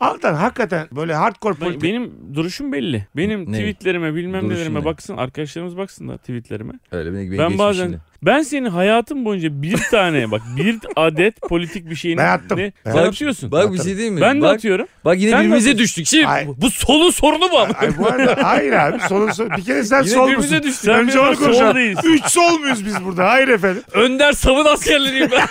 Speaker 4: Altan hakikaten böyle hardcore
Speaker 5: Ben-
Speaker 4: politik.
Speaker 5: benim duruşum belli. Benim
Speaker 6: Ne?
Speaker 5: tweetlerime bilmem
Speaker 6: Duruşun
Speaker 5: nelerime
Speaker 6: ne?
Speaker 5: baksın. Arkadaşlarımız baksınlar tweetlerime.
Speaker 6: Öyle beni, beni
Speaker 5: ben bazen ben senin hayatın boyunca bir tane bak bir adet politik bir şeyini
Speaker 4: Ben attım.
Speaker 5: Ne?
Speaker 4: Ben
Speaker 5: Sen
Speaker 4: attım.
Speaker 5: atıyorsun.
Speaker 6: Bak bir şey diyeyim mi?
Speaker 5: Ben de
Speaker 6: bak,
Speaker 5: atıyorum.
Speaker 6: bak yine
Speaker 5: Sen de
Speaker 6: birbirimize düştük. Şimdi
Speaker 4: Ay.
Speaker 6: bu solun sorunu mu? ama?
Speaker 4: Ay bu arada hayır abi solun sol. Bir kere sen
Speaker 5: Yine
Speaker 4: sol
Speaker 5: birbirimize
Speaker 4: musun?
Speaker 5: düştük. Sen
Speaker 4: Önce
Speaker 5: Önce
Speaker 4: onu konuşalım.
Speaker 5: değilsin.
Speaker 4: Üç sol muyuz biz burada? Hayır efendim.
Speaker 6: Önder savun askerleriyim ben.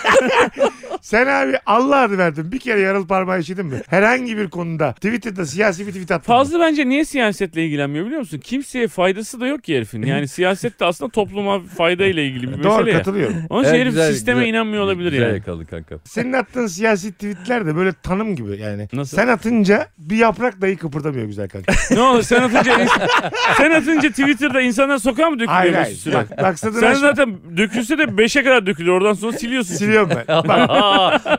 Speaker 4: Sen abi Allah adı verdin. Bir kere yaralı parmağı işledin mi? Herhangi bir konuda Twitter'da siyasi bir tweet attın mı?
Speaker 5: Fazla bence niye siyasetle ilgilenmiyor biliyor musun? Kimseye faydası da yok ki herifin. Yani siyaset de aslında topluma faydayla ilgili bir
Speaker 4: Doğru
Speaker 5: mesele ya.
Speaker 4: katılıyorum.
Speaker 5: Onun için herif sisteme inanmıyor olabilir
Speaker 6: güzel
Speaker 5: yani.
Speaker 6: yakaladın kanka.
Speaker 4: Senin attığın siyasi tweetler de böyle tanım gibi yani.
Speaker 5: Nasıl?
Speaker 4: Sen atınca bir yaprak dahi kıpırdamıyor güzel kanka.
Speaker 5: ne olur sen atınca, ins- sen atınca Twitter'da insanlar sokağa mı dökülüyor
Speaker 4: hayır
Speaker 5: Mesut
Speaker 4: hayır.
Speaker 5: Süre?
Speaker 4: Bak, maksadını
Speaker 5: Sen
Speaker 4: aşma.
Speaker 5: zaten dökülse de 5'e kadar dökülür. Oradan sonra siliyorsun.
Speaker 4: Siliyorum ben. Bak,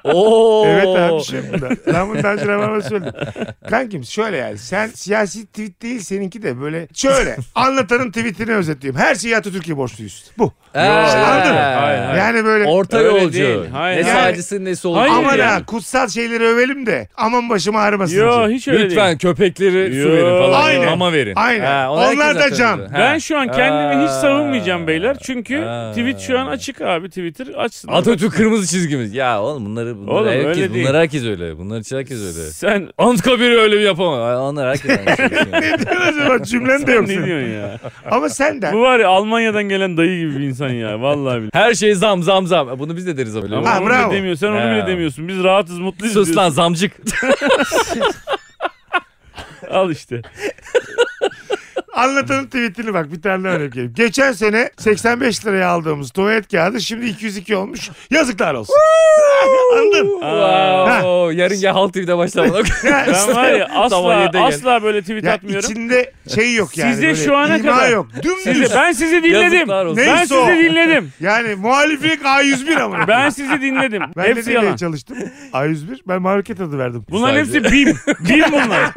Speaker 6: Oo.
Speaker 4: Evet abi şimdi. Ben bunu daha önce Rabarba'da söyledim. Kankim şöyle yani sen siyasi tweet değil seninki de böyle şöyle anlatanın tweetini özetliyorum. Her şeyi Atatürk'e borçluyuz. Bu.
Speaker 6: Ee,
Speaker 4: Anladın mı?
Speaker 5: Hayır, hayır.
Speaker 4: Yani böyle
Speaker 6: Orta
Speaker 5: Öyle
Speaker 6: yolcu.
Speaker 5: değil. Hayır,
Speaker 6: ne
Speaker 4: hayır.
Speaker 6: sağcısı ne solcu.
Speaker 5: Hayır.
Speaker 4: aman
Speaker 5: yani.
Speaker 4: ha kutsal şeyleri övelim de aman başım ağrımasın.
Speaker 5: Yo
Speaker 4: diye.
Speaker 5: hiç öyle
Speaker 7: Lütfen
Speaker 5: değil.
Speaker 7: köpekleri
Speaker 5: Yo.
Speaker 7: su verin falan.
Speaker 4: Aynen.
Speaker 7: Mama verin.
Speaker 4: Aynen.
Speaker 6: Ha, ona
Speaker 4: Onlar
Speaker 6: herkes
Speaker 4: da
Speaker 6: hak
Speaker 4: can.
Speaker 6: veriyor. Ha.
Speaker 5: Ben şu an kendimi hiç savunmayacağım beyler. Çünkü
Speaker 6: Ha.
Speaker 5: tweet şu an açık abi. Twitter açsın.
Speaker 6: Atatürk kırmızı çizgimiz. Ya oğlum bunları, bunları
Speaker 5: Oğlum,
Speaker 6: herkes,
Speaker 5: öyle değil.
Speaker 6: bunlar herkes öyle. Bunlar için herkes öyle.
Speaker 5: Sen
Speaker 6: Anıtkabir'i öyle bir yapamaz. Ay, Onlar herkes şey. öyle.
Speaker 4: Ne diyorsun acaba? Cümlen de yok.
Speaker 5: ne
Speaker 4: senin.
Speaker 5: diyorsun ya?
Speaker 4: Ama sen de.
Speaker 5: Bu var ya Almanya'dan gelen dayı gibi bir insan ya. Vallahi bile.
Speaker 6: Her şey zam zam zam. Bunu biz de deriz öyle.
Speaker 5: Ama
Speaker 4: Ha,
Speaker 5: onu
Speaker 4: bravo.
Speaker 5: bile demiyor. Sen onu bile
Speaker 6: Ha.
Speaker 5: demiyorsun. Biz rahatız, mutluyuz
Speaker 6: Sus lan
Speaker 5: diyorsun.
Speaker 6: zamcık.
Speaker 5: Al işte.
Speaker 4: Anlatanın tweetini bak bir tane daha örnek vereyim. Geçen sene 85 liraya aldığımız tuvalet kağıdı şimdi 202 olmuş. Yazıklar olsun. Anladın?
Speaker 6: Wow. Yarın gel Halk TV'de başlamana.
Speaker 5: Ben var ya
Speaker 6: Sabah
Speaker 5: asla
Speaker 6: yedide gel.
Speaker 5: asla böyle tweet
Speaker 4: Ya
Speaker 5: atmıyorum.
Speaker 4: içinde şey yok yani.
Speaker 5: Size
Speaker 4: böyle
Speaker 5: şu ana
Speaker 4: ima
Speaker 5: kadar-
Speaker 4: yok. Dümdüz.
Speaker 5: Sizi- ben sizi dinledim.
Speaker 6: Yazıklar olsun.
Speaker 5: Ben
Speaker 4: Neyse o.
Speaker 5: sizi dinledim.
Speaker 4: Yani muhaliflik A101 ama.
Speaker 5: Ben sizi dinledim.
Speaker 4: ben de
Speaker 5: hepsi
Speaker 4: demeye
Speaker 5: yalan.
Speaker 4: çalıştım. A101 ben market adı verdim.
Speaker 5: Bunların
Speaker 6: Sadece-
Speaker 5: hepsi bim. Bim bunlar.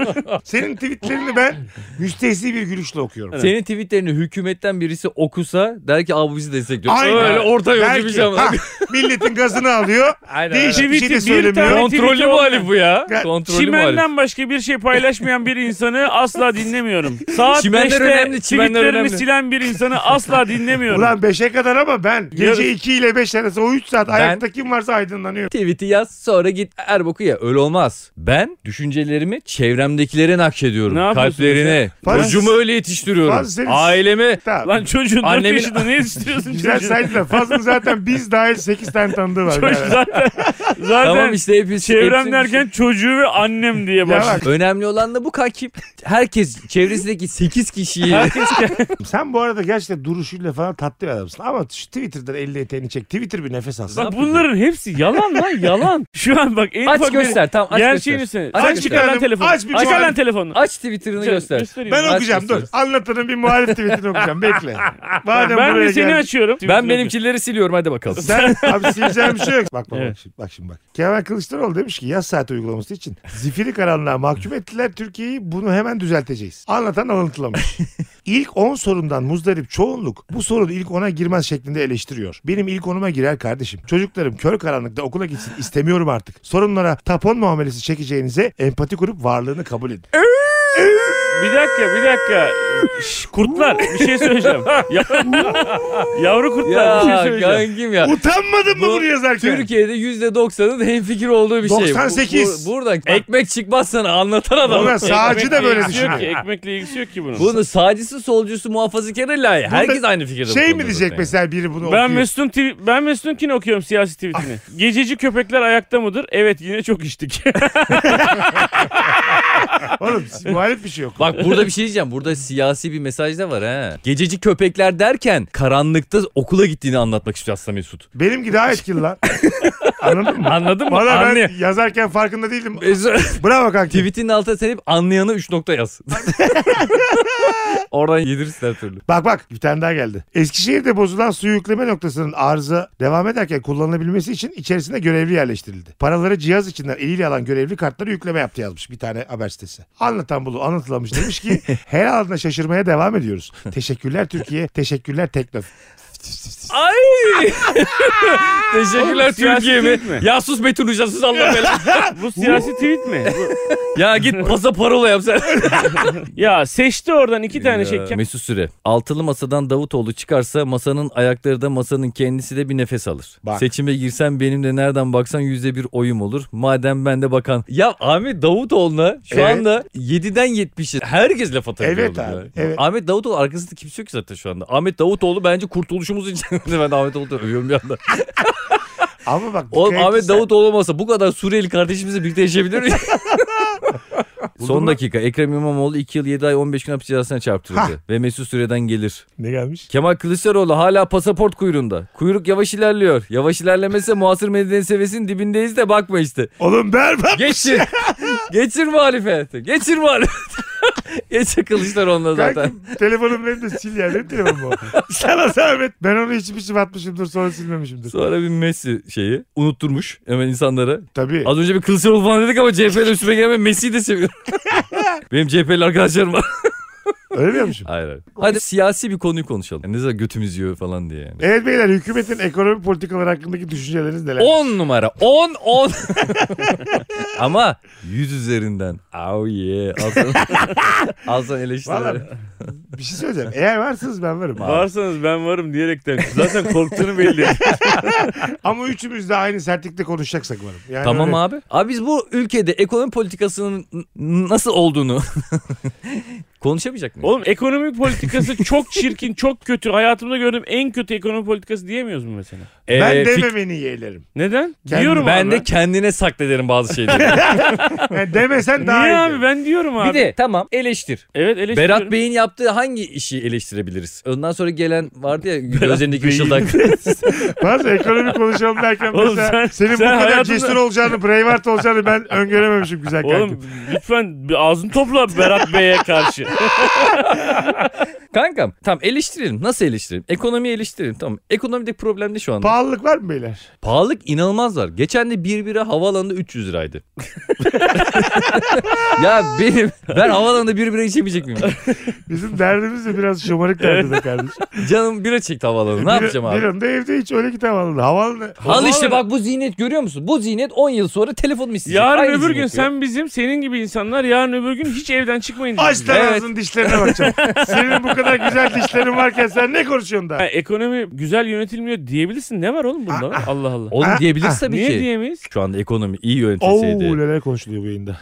Speaker 4: Senin tweetlerini ben müstehsi bir gülüşle okuyorum.
Speaker 6: Senin tweetlerini hükümetten birisi okusa der ki abi bizi destekliyor.
Speaker 4: Aynen.
Speaker 6: Öyle orta
Speaker 4: Belki-
Speaker 6: yolcu bir şey.
Speaker 4: Ha, milletin gazını alıyor.
Speaker 6: Aynen.
Speaker 4: Değişik bir şey de
Speaker 5: Tweet'i bir
Speaker 4: söylemiyor.
Speaker 5: tane-
Speaker 6: Kontrollü
Speaker 5: Tweet'i
Speaker 6: muhalif bu ya.
Speaker 4: Ya,
Speaker 6: Kontrollü muhalif.
Speaker 5: Çimenden başka bir şey paylaşmayan bir insanı asla dinlemiyorum. Saat
Speaker 6: Çimenler
Speaker 5: 5'te
Speaker 6: önemli, çimenler
Speaker 5: tweetlerini
Speaker 6: önemli.
Speaker 5: silen bir insanı asla dinlemiyorum.
Speaker 4: Ulan 5'e kadar ama ben gece
Speaker 5: Yarın-
Speaker 4: 2 ile 5 arası o 3 saat ayakta kim varsa aydınlanıyor.
Speaker 6: Tweet'i yaz sonra git Erbok'u ya. Öyle olmaz. Ben düşüncelerimi çevremdekilere nakşediyorum.
Speaker 5: Ne yapıyorsun
Speaker 6: Kalplerine.
Speaker 4: Fazla-
Speaker 6: Çocuğumu öyle yetiştiriyorum.
Speaker 4: Fazla senin-
Speaker 6: Ailemi.
Speaker 4: Tamam.
Speaker 5: Lan çocuğun dört
Speaker 6: Annemin-
Speaker 5: yaşında ne istiyorsun
Speaker 4: Güzel
Speaker 5: çocuğun?
Speaker 4: saydılar. Fazla zaten biz dahil 8 tane tanıdığı var.
Speaker 5: Çocuk
Speaker 4: Yani.
Speaker 5: zaten zaten
Speaker 6: Tamam işte hepsi.
Speaker 5: çevrem
Speaker 6: hepsini
Speaker 5: derken çocuğu ve annem diye
Speaker 4: bak.
Speaker 5: başladı.
Speaker 6: Önemli olan da bu kanki. Herkes çevresindeki 8 kişiyi.
Speaker 4: Sen bu arada gerçekten duruşuyla falan tatlı bir adamsın. Ama şu Twitter'dan elli eteğini çek. Twitter bir nefes alsın.
Speaker 5: Bak bunların hepsi yalan lan yalan. Şu an bak en
Speaker 6: aç
Speaker 5: ufak bir-
Speaker 6: göster tamam aç
Speaker 5: Gerçeğini
Speaker 6: göster.
Speaker 5: söyle.
Speaker 6: Aç
Speaker 5: Sen
Speaker 6: göster.
Speaker 5: çıkar lan
Speaker 4: Efendim,
Speaker 5: telefonu.
Speaker 4: aç bir
Speaker 5: çıkar
Speaker 4: muhabbet.
Speaker 5: lan telefonunu.
Speaker 6: Aç Twitter'ını göster.
Speaker 5: Göstereyim.
Speaker 4: ben
Speaker 6: aç
Speaker 4: okuyacağım dur.
Speaker 6: gösterisi.
Speaker 4: Anlatanın bir muhalif tweetini okuyacağım. Bekle. Madem
Speaker 5: Ben
Speaker 4: buraya
Speaker 5: de seni
Speaker 4: geldin-
Speaker 5: açıyorum.
Speaker 6: Ben benimkileri siliyorum hadi bakalım.
Speaker 4: Sen abi sileceğim bir şey yok. Bak bak,
Speaker 5: Evet.
Speaker 4: bak şimdi bak şimdi bak. Kemal Kılıçdaroğlu demiş ki yaz saati uygulaması için zifiri karanlığa mahkum ettiler Türkiye'yi bunu hemen düzelteceğiz. Anlatan alıntılamış. İlk 10 sorundan muzdarip çoğunluk bu sorun ilk 10'a girmez şeklinde eleştiriyor. Benim ilk 10'uma girer kardeşim. Çocuklarım kör karanlıkta okula gitsin istemiyorum artık. Sorunlara tapon muamelesi çekeceğinize empati kurup varlığını kabul edin.
Speaker 5: Bir dakika bir dakika. Şş, kurtlar bir şey söyleyeceğim. Ya- Yavru kurtlar bir şey
Speaker 6: ya
Speaker 5: söyleyeceğim.
Speaker 6: gangim ya.
Speaker 4: Utanmadın mı
Speaker 6: Bu
Speaker 4: bunu yazarken?
Speaker 6: Türkiye'de %90'ın hemfikir olduğu bir şey. Bu-
Speaker 4: 98.
Speaker 6: Bu, buradan ekmek çıkmaz sana anlatan adam.
Speaker 4: Ulan sağcı da böyle
Speaker 5: Ekmekle ilgisi yok
Speaker 4: düşünüyor.
Speaker 5: ki, Ekmekle ilgisi yok ki bunun.
Speaker 6: Bunu sağcısı solcusu muhafazakarı la herkes aynı fikirde. bu
Speaker 4: Şey mi
Speaker 6: konuda
Speaker 4: diyecek
Speaker 6: zaten.
Speaker 4: mesela biri bunu
Speaker 5: ben
Speaker 4: okuyor.
Speaker 5: Mesut'un tw- ben Mesut'unkini okuyorum siyasi tweetini.
Speaker 4: Ah.
Speaker 5: Gececi köpekler ayakta mıdır? Evet yine çok içtik.
Speaker 4: Oğlum muhalif bir şey yok.
Speaker 6: Bak burada bir şey diyeceğim. Burada siyasi bir mesaj da var ha. Gececi köpekler derken karanlıkta okula gittiğini anlatmak istiyor aslında Mesut.
Speaker 4: Benimki daha etkili lan. Anladın mı?
Speaker 6: Anladın mı?
Speaker 4: Valla ben
Speaker 6: Anlıyor.
Speaker 4: yazarken farkında değildim. Bravo kanka.
Speaker 6: Tweetinin altına sen hep anlayana 3 nokta yaz. Oradan yedirirsin her türlü.
Speaker 4: Bak bak bir tane daha geldi. Eskişehir'de bozulan su yükleme noktasının arıza devam ederken kullanılabilmesi için içerisine görevli yerleştirildi. Paraları cihaz içinden eliyle alan görevli kartları yükleme yaptı yazmış bir tane haber sitesi. Anlatan bunu anlatılamış demiş ki her alanda şaşırmaya devam ediyoruz. Teşekkürler Türkiye, teşekkürler Teknof.
Speaker 6: Ay! Teşekkürler
Speaker 5: Oğlum, siyasi
Speaker 6: Türkiye mi?
Speaker 5: tweet mi?
Speaker 6: Ya sus Betül Hoca sus Allah belanı.
Speaker 5: Bu siyasi tweet mi? Bu-
Speaker 6: ya git pasa parola yap sen.
Speaker 5: ya seçti oradan iki tane şey.
Speaker 6: Ee, Mesut Süre. Altılı masadan Davutoğlu çıkarsa masanın ayakları da masanın kendisi de bir nefes alır.
Speaker 4: Bak.
Speaker 6: Seçime girsem benim de nereden baksan yüzde bir oyum olur. Madem ben de bakan. Ya Ahmet Davutoğlu'na şu
Speaker 4: Evet.
Speaker 6: anda 7'den 70'e herkes laf atabiliyor.
Speaker 4: Evet
Speaker 6: oğlum
Speaker 4: abi,
Speaker 6: ya.
Speaker 4: evet.
Speaker 6: Ahmet Davutoğlu arkasında kimse yok ki zaten şu anda. Ahmet Davutoğlu bence kurtuluşumuz için. ben Ahmet Davutoğlu'nu övüyorum bir anda.
Speaker 4: Ama bak
Speaker 6: Oğlum
Speaker 4: dikkat
Speaker 6: Ahmet
Speaker 4: ettiysen-
Speaker 6: Davutoğlu olmasa bu kadar Suriyeli kardeşimizle birlikte yaşayabilir miyiz? Son dakika Ekrem İmamoğlu 2 yıl 7 ay 15 gün hapis cezasına çarptırıldı.
Speaker 4: Hah.
Speaker 6: Ve Mesut Süre'den gelir.
Speaker 4: Ne gelmiş?
Speaker 6: Kemal Kılıçdaroğlu hala pasaport kuyruğunda. Kuyruk yavaş ilerliyor. Yavaş ilerlemese muasır medeniyet seviyesinin dibindeyiz de bakma işte.
Speaker 4: Oğlum berbat.
Speaker 6: Geçir. Geçir muhalefeti. Geçir muhalefeti. Geç takılışlar onunla zaten.
Speaker 4: Kankim telefonum benim de sil ya. Benim telefonum o. Sana zahmet. Ben onu içmişim atmışımdır sonra silmemişimdir.
Speaker 6: Sonra bir Messi şeyi unutturmuş hemen insanlara.
Speaker 4: Tabii.
Speaker 6: Az önce bir Kılıçdaroğlu falan dedik ama CHP'li üstüme gelme Messi'yi de seviyorum. Benim CHP'li arkadaşlarım var.
Speaker 4: Öyle mi yapmışım?
Speaker 6: Hayır hayır. Hadi siyasi bir konuyu konuşalım. Yani ne zaman götümüz yiyor falan diye yani.
Speaker 4: Evet beyler hükümetin ekonomi politikaları hakkındaki düşünceleriniz neler?
Speaker 6: 10 numara. 10 10. Ama 100 üzerinden. Oh yeah. Alsan, alsan eleştirileri.
Speaker 4: Valla bir şey söyleyeceğim. Eğer varsınız ben varım.
Speaker 5: Varsanız ben varım diyerekten. Zaten korktuğunu belli.
Speaker 4: Ama üçümüz de aynı sertlikte konuşacaksak varım. Yani hani
Speaker 6: Tamam
Speaker 4: öyle-
Speaker 6: abi. Abi biz bu ülkede ekonomi politikasının n- nasıl olduğunu konuşamayacak mıyız?
Speaker 5: Oğlum ekonomi politikası çok çirkin, çok kötü. Hayatımda gördüğüm en kötü ekonomi politikası diyemiyoruz mu mesela?
Speaker 4: Ben
Speaker 6: Ee, fik-
Speaker 4: dememeni yeğlerim.
Speaker 5: Neden?
Speaker 4: Kendim-
Speaker 5: diyorum
Speaker 6: ben
Speaker 5: abi.
Speaker 6: de kendine saklederim bazı şeyleri.
Speaker 4: Yani demesen daha
Speaker 5: Niye
Speaker 4: iyi.
Speaker 5: abi ben diyorum abi.
Speaker 6: Bir de tamam eleştir.
Speaker 5: Evet eleştiriyorum.
Speaker 6: Berat Bey'in yaptığı hangi işi eleştirebiliriz? Ondan sonra gelen vardı ya gözlerindeki ışıldak.
Speaker 4: Bazı ekonomi konuşalım derken
Speaker 5: Oğlum
Speaker 4: mesela
Speaker 5: sen-
Speaker 4: senin bu
Speaker 5: sen
Speaker 4: kadar
Speaker 5: hayatında-
Speaker 4: cesur olacağını, braveheart olacağını ben öngörememişim güzel kankim.
Speaker 5: Oğlum lütfen bir ağzını topla Berat Bey'e karşı.
Speaker 6: Kankam tamam eleştirelim. Nasıl eleştirelim? Ekonomiyi eleştirelim tamam. Ekonomideki problem ne şu anda?
Speaker 4: Pahalılık var mı beyler?
Speaker 6: Pahalılık inanılmaz var. Geçen de 1 bira havaalanında 300 liraydı. ya benim ben havaalanında 1 bira içemeyecek miyim?
Speaker 4: Bizim derdimiz de biraz şımarık derdi de kardeşim.
Speaker 6: Canım bira çekti havaalanı. Ne
Speaker 4: Bir-
Speaker 6: yapacağım
Speaker 4: Bir
Speaker 6: abi?
Speaker 4: anda evde hiç öyle git havalı. Havalı.
Speaker 6: Al işte bak bu zinet görüyor musun? Bu zinet 10 yıl sonra telefon mu isteyecek?
Speaker 5: Yarın
Speaker 6: Aynı
Speaker 5: öbür gün
Speaker 6: zihniyet ya.
Speaker 5: sen bizim, senin gibi insanlar yarın öbür gün hiç evden çıkmayın.
Speaker 4: Aç
Speaker 5: diyeceğiz.
Speaker 4: lan
Speaker 6: Evet.
Speaker 4: ağzının dişlerine bakacağım. Senin bu kadar güzel dişlerin varken sen ne konuşuyorsun
Speaker 5: Ha,
Speaker 4: da?
Speaker 5: ekonomi güzel yönetilmiyor diyebilirsin. Ne var oğlum bunda? Allah Allah.
Speaker 6: Onu diyebiliriz tabii
Speaker 5: Niye
Speaker 6: ki.
Speaker 5: diyemeyiz?
Speaker 6: Şu anda ekonomi iyi
Speaker 4: Oo
Speaker 6: yönetilseydi.
Speaker 4: neler konuşuluyor bu yayında.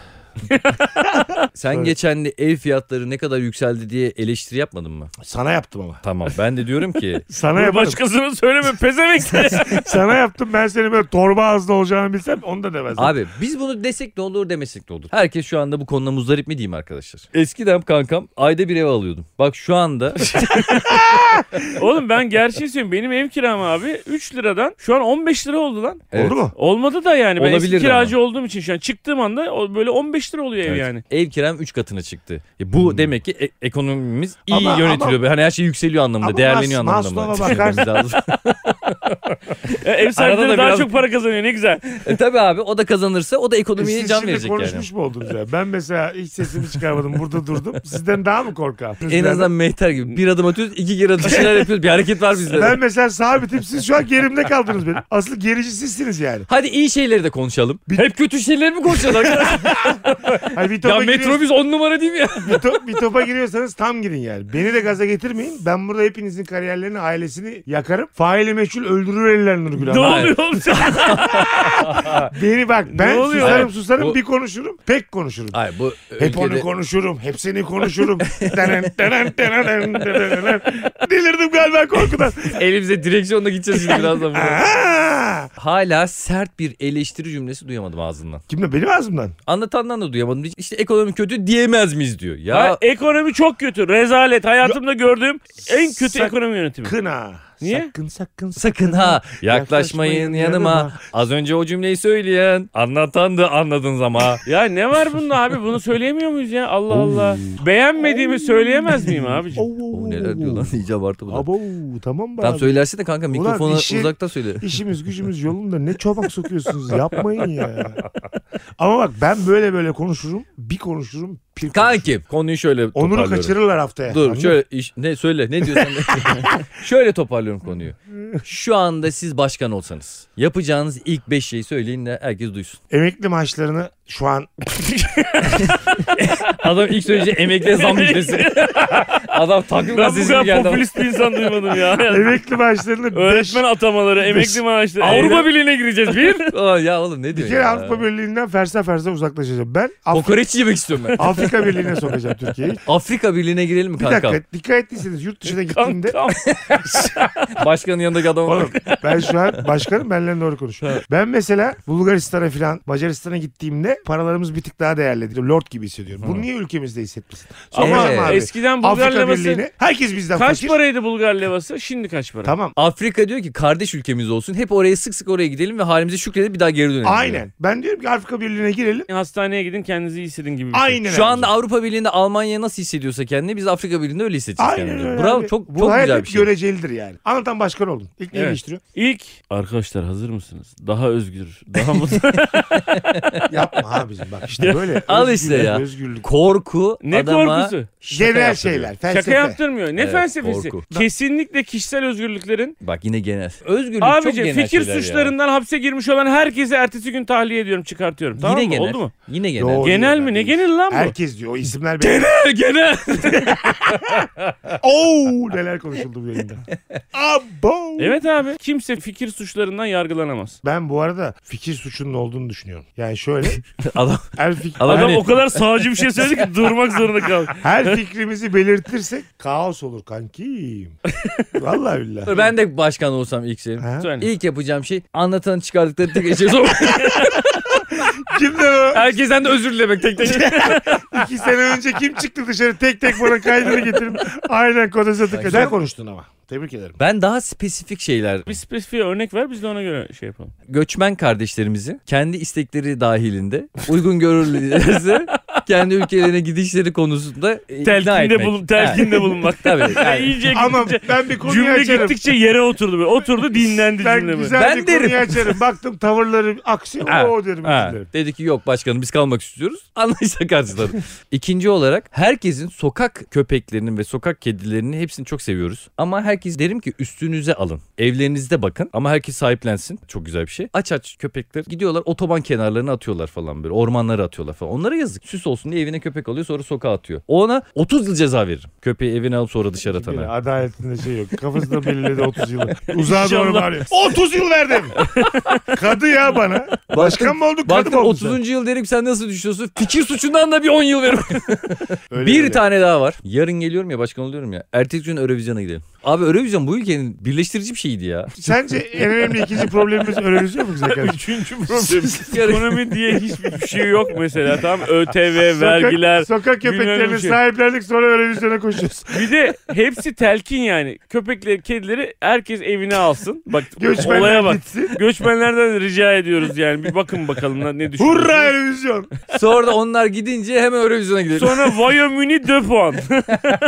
Speaker 6: Sen
Speaker 4: Evet.
Speaker 6: geçen de ev fiyatları ne kadar yükseldi diye eleştiri yapmadın mı?
Speaker 4: Sana yaptım ama.
Speaker 6: Tamam ben de diyorum ki
Speaker 4: Sana
Speaker 5: Bunu
Speaker 4: yaparım.
Speaker 5: başkasına söyleme pezevenk.
Speaker 4: Sana yaptım ben senin böyle torba ağızlı olacağını bilsem onu da demezdim.
Speaker 6: abi biz bunu desek ne olur demesek ne olur. Herkes şu anda bu konuda muzdarip mi diyeyim arkadaşlar? Eskiden kankam ayda bir ev alıyordum. Bak şu anda
Speaker 5: Oğlum ben gerçeği söylüyorum. Benim ev kiram abi 3 liradan şu an 15 lira oldu lan.
Speaker 6: Evet.
Speaker 4: Oldu mu?
Speaker 5: Olmadı da yani. Ben eski
Speaker 6: Olabilirdi
Speaker 5: kiracı olduğum için şu an çıktığım anda o- böyle 15 lira oluyor ev
Speaker 6: Evet.
Speaker 5: yani.
Speaker 6: ev kiram 3 katına çıktı. E bu demek ki e- ekonomimiz iyi
Speaker 4: Hmm. Ama-
Speaker 6: yönetiliyor. hani her şey yükseliyor anlamında,
Speaker 4: Ama
Speaker 6: değerleniyor
Speaker 4: Mas-
Speaker 6: anlamında. mı?
Speaker 4: Maslow'a bakarsın.
Speaker 6: Düşünmemiz lazım.
Speaker 5: E, ev sahipleri
Speaker 6: da
Speaker 5: daha
Speaker 6: biraz-
Speaker 5: çok para kazanıyor ne güzel.
Speaker 6: e tabi abi o da kazanırsa o da ekonomiye
Speaker 4: Siz
Speaker 6: can
Speaker 4: şimdi
Speaker 6: verecek yani.
Speaker 4: konuşmuş mu oldunuz ya? Ben mesela hiç sesimi çıkarmadım. Burada durdum. Sizden daha mı korkağım?
Speaker 6: En azından mehter gibi bir adım atıyoruz iki geri atıyoruz, bir şeyler yapıyoruz bir hareket var bizde.
Speaker 4: Ben mesela sabitim. Siz şu an gerimde kaldınız benim. Asıl gerici sizsiniz yani.
Speaker 6: Hadi iyi şeyleri de konuşalım.
Speaker 4: Bir-
Speaker 6: Hep kötü şeyleri mi konuşalım arkadaşlar?
Speaker 4: Hani bir
Speaker 6: ya
Speaker 4: topa, giriyorsanız,
Speaker 6: metrobüs on numara değil mi ya?
Speaker 4: bir, to- bir topa giriyorsanız tam girin yani. Beni de gaza getirmeyin. Ben burada hepinizin kariyerlerini, ailesini yakarım. Faili meçhul öldürürler Nurgül
Speaker 5: Ne
Speaker 4: Hanım.
Speaker 5: oluyor oğlum sen?
Speaker 4: Beni bak ben
Speaker 5: Ne oluyor?
Speaker 4: susarım
Speaker 6: Hayır,
Speaker 4: susarım
Speaker 6: bu-
Speaker 4: bir konuşurum. Pek konuşurum.
Speaker 6: Hayır bu
Speaker 4: Hep onu
Speaker 6: ülkede-
Speaker 4: konuşurum. Hepsini konuşurum. Denen, denen, denen, denen, denen. Delirdim galiba korkudan.
Speaker 6: elimize direksiyonla gideceğiz şimdi birazdan. buraya.
Speaker 4: Aa!
Speaker 6: Hala sert bir eleştiri cümlesi duyamadım ağzından.
Speaker 4: Kimle benim ağzımdan?
Speaker 6: Anlatandan da duyamadım. İşte ekonomi kötü diyemez miyiz diyor. Ya
Speaker 5: Ha, ekonomi çok kötü. Rezalet. Hayatımda gördüğüm en kötü
Speaker 4: Sak-
Speaker 5: ekonomi yönetimi.
Speaker 4: Kına.
Speaker 5: Niye?
Speaker 4: Sakın sakın
Speaker 6: sakın ha yaklaşmayın yanıma. Az önce o cümleyi söyleyen anlatan da anladınız ama.
Speaker 5: Ya ne var bunda abi? Bunu söyleyemiyor muyuz ya? Allah Allah. Beğenmediğimi söyleyemez miyim abicim?
Speaker 6: O
Speaker 4: Oo,
Speaker 6: neler diyor lan iyice abartı bu da.
Speaker 4: Abo şey- tamam be
Speaker 6: Tam
Speaker 4: abi.
Speaker 6: söylersin de kanka mikrofona
Speaker 4: işi-
Speaker 6: uzakta söyle.
Speaker 4: İşimiz gücümüz yolunda ne çomak sokuyorsunuz yapmayın ya. Ama bak ben böyle böyle konuşurum bir konuşurum pir konuşurum.
Speaker 6: Kanki konuyu şöyle
Speaker 4: Onunu
Speaker 6: toparlıyorum.
Speaker 4: kaçırırlar haftaya.
Speaker 6: Dur
Speaker 4: Anladın mı?
Speaker 6: şöyle iş- ne söyle ne diyorsan de. şöyle toparlıyorum konuyu. Şu anda siz başkan olsanız yapacağınız ilk 5 şeyi söyleyin de herkes duysun.
Speaker 4: Emekli maaşlarını şu an
Speaker 6: Adam ilk söyleyeceği emekliye zam müjdesi. Adam takvim
Speaker 5: Ben bu
Speaker 6: gazetesi
Speaker 5: kadar
Speaker 6: geldi.
Speaker 5: popülist bir insan duymadım ya.
Speaker 4: emekli maaşlarını beş-
Speaker 5: Öğretmen atamaları, emekli maaşları.
Speaker 6: Avrupa
Speaker 5: Birliği'ne gireceğiz bir.
Speaker 6: Aa, ya oğlum ne diyor
Speaker 4: Bir kere
Speaker 6: ya?
Speaker 4: Avrupa Birliği'nden fersa fersa uzaklaşacağım. Ben Af-
Speaker 6: Kokoreç yemek istiyorum ben.
Speaker 4: Afrika Birliği'ne sokacağım Türkiye'yi.
Speaker 6: Afrika Birliği'ne girelim mi
Speaker 4: Bir
Speaker 6: kanka?
Speaker 4: dakika dikkat ettiyseniz yurt dışına gittiğimde
Speaker 5: Kankam.
Speaker 6: Başkanın yanındaki adama bak.
Speaker 4: Oğlum ben şu an başkanım benimle doğru konuşuyor. Ben mesela Bulgaristan'a falan Macaristan'a gittiğimde paralarımız bir tık daha değerli. Lord gibi hissediyorum. Bunu niye ülkemizde hissetmesin?
Speaker 5: Ama
Speaker 4: Soracağım abi.
Speaker 5: eskiden Bulgar
Speaker 4: Afrika
Speaker 5: levası
Speaker 4: Birliği'ne herkes bizden
Speaker 5: kaç
Speaker 4: fakir.
Speaker 5: paraydı Bulgar levası? Şimdi kaç para?
Speaker 4: Tamam.
Speaker 6: Afrika diyor ki kardeş ülkemiz olsun. Hep oraya sık sık oraya gidelim ve halimize şükredip bir daha geri dönelim. diyor.
Speaker 4: Aynen. Ben diyorum ki Afrika Birliği'ne girelim.
Speaker 5: Hastaneye gidin kendinizi iyi hissedin gibi bir şey.
Speaker 4: Aynen.
Speaker 6: Şu anda Avrupa Birliği'nde Almanya nasıl hissediyorsa kendini biz Afrika Birliği'nde öyle hissedeceğiz
Speaker 4: Aynen
Speaker 6: kendimizi.
Speaker 4: öyle.
Speaker 6: Bravo
Speaker 4: abi.
Speaker 6: çok
Speaker 4: Bu
Speaker 6: çok
Speaker 4: hayat
Speaker 6: güzel
Speaker 4: hep
Speaker 6: bir şey.
Speaker 4: görecelidir yani. Anlatan başkan oldun. İlk neyi
Speaker 5: Evet.
Speaker 4: değiştiriyor?
Speaker 5: İlk arkadaşlar hazır mısınız? Daha özgür, daha mutlu.
Speaker 4: Yapma abicim bak işte böyle.
Speaker 6: Al işte
Speaker 4: özgürlük,
Speaker 6: ya.
Speaker 4: Özgürlük.
Speaker 6: Korku
Speaker 5: ne
Speaker 6: adama
Speaker 5: korkusu?
Speaker 6: şaka
Speaker 4: Genel
Speaker 6: yaptırıyor.
Speaker 4: şeyler.
Speaker 5: Şaka
Speaker 4: Felsefe.
Speaker 5: yaptırmıyor. Ne
Speaker 6: Evet,
Speaker 5: felsefesi?
Speaker 6: korku.
Speaker 5: Kesinlikle kişisel özgürlüklerin.
Speaker 6: Bak yine genel. Özgürlük çok
Speaker 5: Abici
Speaker 6: genel
Speaker 5: fikir
Speaker 6: şeyler ya.
Speaker 5: suçlarından hapse girmiş olan herkesi ertesi gün tahliye ediyorum, çıkartıyorum. Tamam
Speaker 6: yine
Speaker 5: mı?
Speaker 6: genel.
Speaker 5: Oldu mu?
Speaker 6: Yine genel.
Speaker 4: Yo,
Speaker 5: Genel
Speaker 4: diyorlar.
Speaker 5: mi? Ne genel lan bu?
Speaker 4: Herkes diyor o isimler benim.
Speaker 5: genel.
Speaker 4: Oo Oh, neler konuşuldu bu yayında. Abo.
Speaker 5: evet abi. Kimse fikir suçlarından yargılanamaz.
Speaker 4: Ben bu arada fikir suçunun olduğunu düşünüyorum. Yani şöyle
Speaker 6: Adam,
Speaker 4: her, fik-
Speaker 6: adam
Speaker 5: Adam
Speaker 6: hani-
Speaker 5: o kadar sağcı bir şey söyledi ki durmak zorunda kaldı.
Speaker 4: her fikrimizi belirtirsek kaos olur kankim. Vallahi billahi.
Speaker 6: ben de başkan olsam ilk şeyim.
Speaker 4: Ha?
Speaker 5: Söyle.
Speaker 6: İlk yapacağım şey anlatanın çıkardıkları tek şey eşeği
Speaker 4: Kimdi o?
Speaker 6: Herkesten de özür dilemek tek tek.
Speaker 4: İki sene önce kim çıktı dışarı tek tek bana kaydını getirin. Aynen kodası tıkladı. Güzel konuştun ama. Tebrik ederim.
Speaker 6: Ben daha spesifik şeyler
Speaker 5: Bir spesifik örnek ver biz de ona göre şey yapalım.
Speaker 6: göçmen kardeşlerimizi kendi istekleri dahilinde uygun görürlerse kendi ülkelerine gidişleri konusunda e, ikna
Speaker 5: Telkinde,
Speaker 6: etmek.
Speaker 5: bulun, telkinde
Speaker 6: Ha.
Speaker 5: bulunmak.
Speaker 6: Tabii, yani.
Speaker 5: İyice
Speaker 4: Ama
Speaker 5: gittikçe-
Speaker 4: ben bir konuyu
Speaker 5: Cümle
Speaker 4: açarım.
Speaker 5: gittikçe yere oturdu böyle. Oturdu dinlendi
Speaker 4: Ben
Speaker 5: cümle böyle.
Speaker 4: güzel
Speaker 6: Ben
Speaker 4: bir
Speaker 6: derim.
Speaker 4: konuyu açarım. Baktım tavırları aksi.
Speaker 6: Ha,
Speaker 4: o derim.
Speaker 6: ha.
Speaker 4: özür dilerim.
Speaker 6: Dedi ki yok başkanım biz kalmak istiyoruz. Anlayışla karşıladı. İkinci olarak herkesin sokak köpeklerinin ve sokak kedilerini hepsini çok seviyoruz. Ama herkes derim ki üstünüze alın. Evlerinizde bakın ama herkes sahiplensin. Çok güzel bir şey. Aç aç köpekler gidiyorlar otoban kenarlarına atıyorlar falan böyle. Ormanlara atıyorlar falan. Onlara yazık. Süs olsun diye evine köpek alıyor sonra sokağa atıyor. Ona 30 yıl ceza veririm. Köpeği evine alıp sonra dışarı
Speaker 4: Yine
Speaker 6: atana.
Speaker 4: adaletinde şey yok. Kafasında belirledi 30 yılı. Uzağa doğru
Speaker 5: İnşallah.
Speaker 4: bağırıyor. 30 yıl verdim. Kadı ya bana. Başkan mı oldun? Kadı
Speaker 6: Baktın
Speaker 4: mı oldun? sen?
Speaker 6: 30. yıl derim sen nasıl düşünüyorsun? Fikir suçundan da bir 10 yıl veririm.
Speaker 4: Öyle
Speaker 6: bir
Speaker 4: öyle.
Speaker 6: tane daha var. Yarın geliyorum ya başkan oluyorum ya. Ertesi gün Eurovision'a gidelim. Abi Eurovision bu ülkenin birleştirici bir şeydi ya.
Speaker 4: Sence en önemli ikinci problemimiz öneriziyor mu bize kardeşim?
Speaker 5: Üçüncü problem. Ekonomi diye hiçbir şey yok mesela. Tam ÖTV, E, vergiler.
Speaker 4: Sokak, sokak
Speaker 5: bilmem
Speaker 4: köpeklerini
Speaker 5: bir şey.
Speaker 4: sahiplendik sonra önerizyona koşuyoruz.
Speaker 5: Bir de hepsi telkin yani. Köpekleri, kedileri herkes evine alsın. Bak olaya
Speaker 4: Göçmenler
Speaker 5: bak.
Speaker 4: gitsin.
Speaker 5: Göçmenlerden rica ediyoruz yani. Bir bakın bakalım lan ne düşünüyorsunuz.
Speaker 4: Hurra Eurovizyon.
Speaker 6: Sonra da onlar gidince hemen Eurovision'a gidelim.
Speaker 5: Sonra Wyoming'i de puan.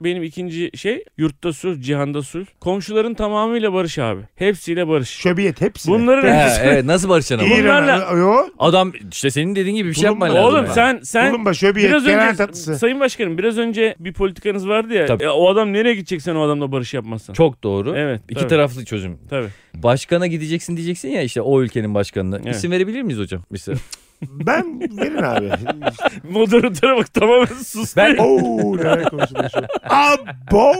Speaker 5: Benim ikinci şey yurtta sulh, cihanda sulh. Komşuların tamamıyla barış abi. Hepsiyle barış.
Speaker 4: Şöbiyet hepsi.
Speaker 5: Bunların
Speaker 6: He,
Speaker 5: hepsi.
Speaker 6: evet nasıl barışacaksın ama?
Speaker 5: İyi.
Speaker 4: İran'a.
Speaker 5: bunlarla-
Speaker 4: Yo.
Speaker 6: Adam işte senin dediğin gibi bir şey yapman
Speaker 4: Bulunma-
Speaker 6: lazım.
Speaker 5: Oğlum
Speaker 6: yani.
Speaker 5: sen sen
Speaker 4: Bulunma şöbiyet.
Speaker 5: Biraz
Speaker 4: Kenan
Speaker 5: önce
Speaker 4: tatlısı.
Speaker 5: Sayın Başkanım biraz önce bir politikanız vardı ya.
Speaker 6: Tabii.
Speaker 5: Ya o adam nereye gidecek sen o adamla barış yapmazsan?
Speaker 6: Çok doğru.
Speaker 5: Evet,
Speaker 6: İki
Speaker 5: tabii.
Speaker 6: taraflı çözüm.
Speaker 5: Tabii.
Speaker 6: Başkana gideceksin diyeceksin ya işte o ülkenin başkanına.
Speaker 5: Evet.
Speaker 6: İsim verebilir miyiz hocam? Mesela.
Speaker 4: Ben verin abi.
Speaker 5: Moderatöre bak tamamen sus.
Speaker 6: Ben-
Speaker 4: Oo neler konuşuluyor şu an. Abo.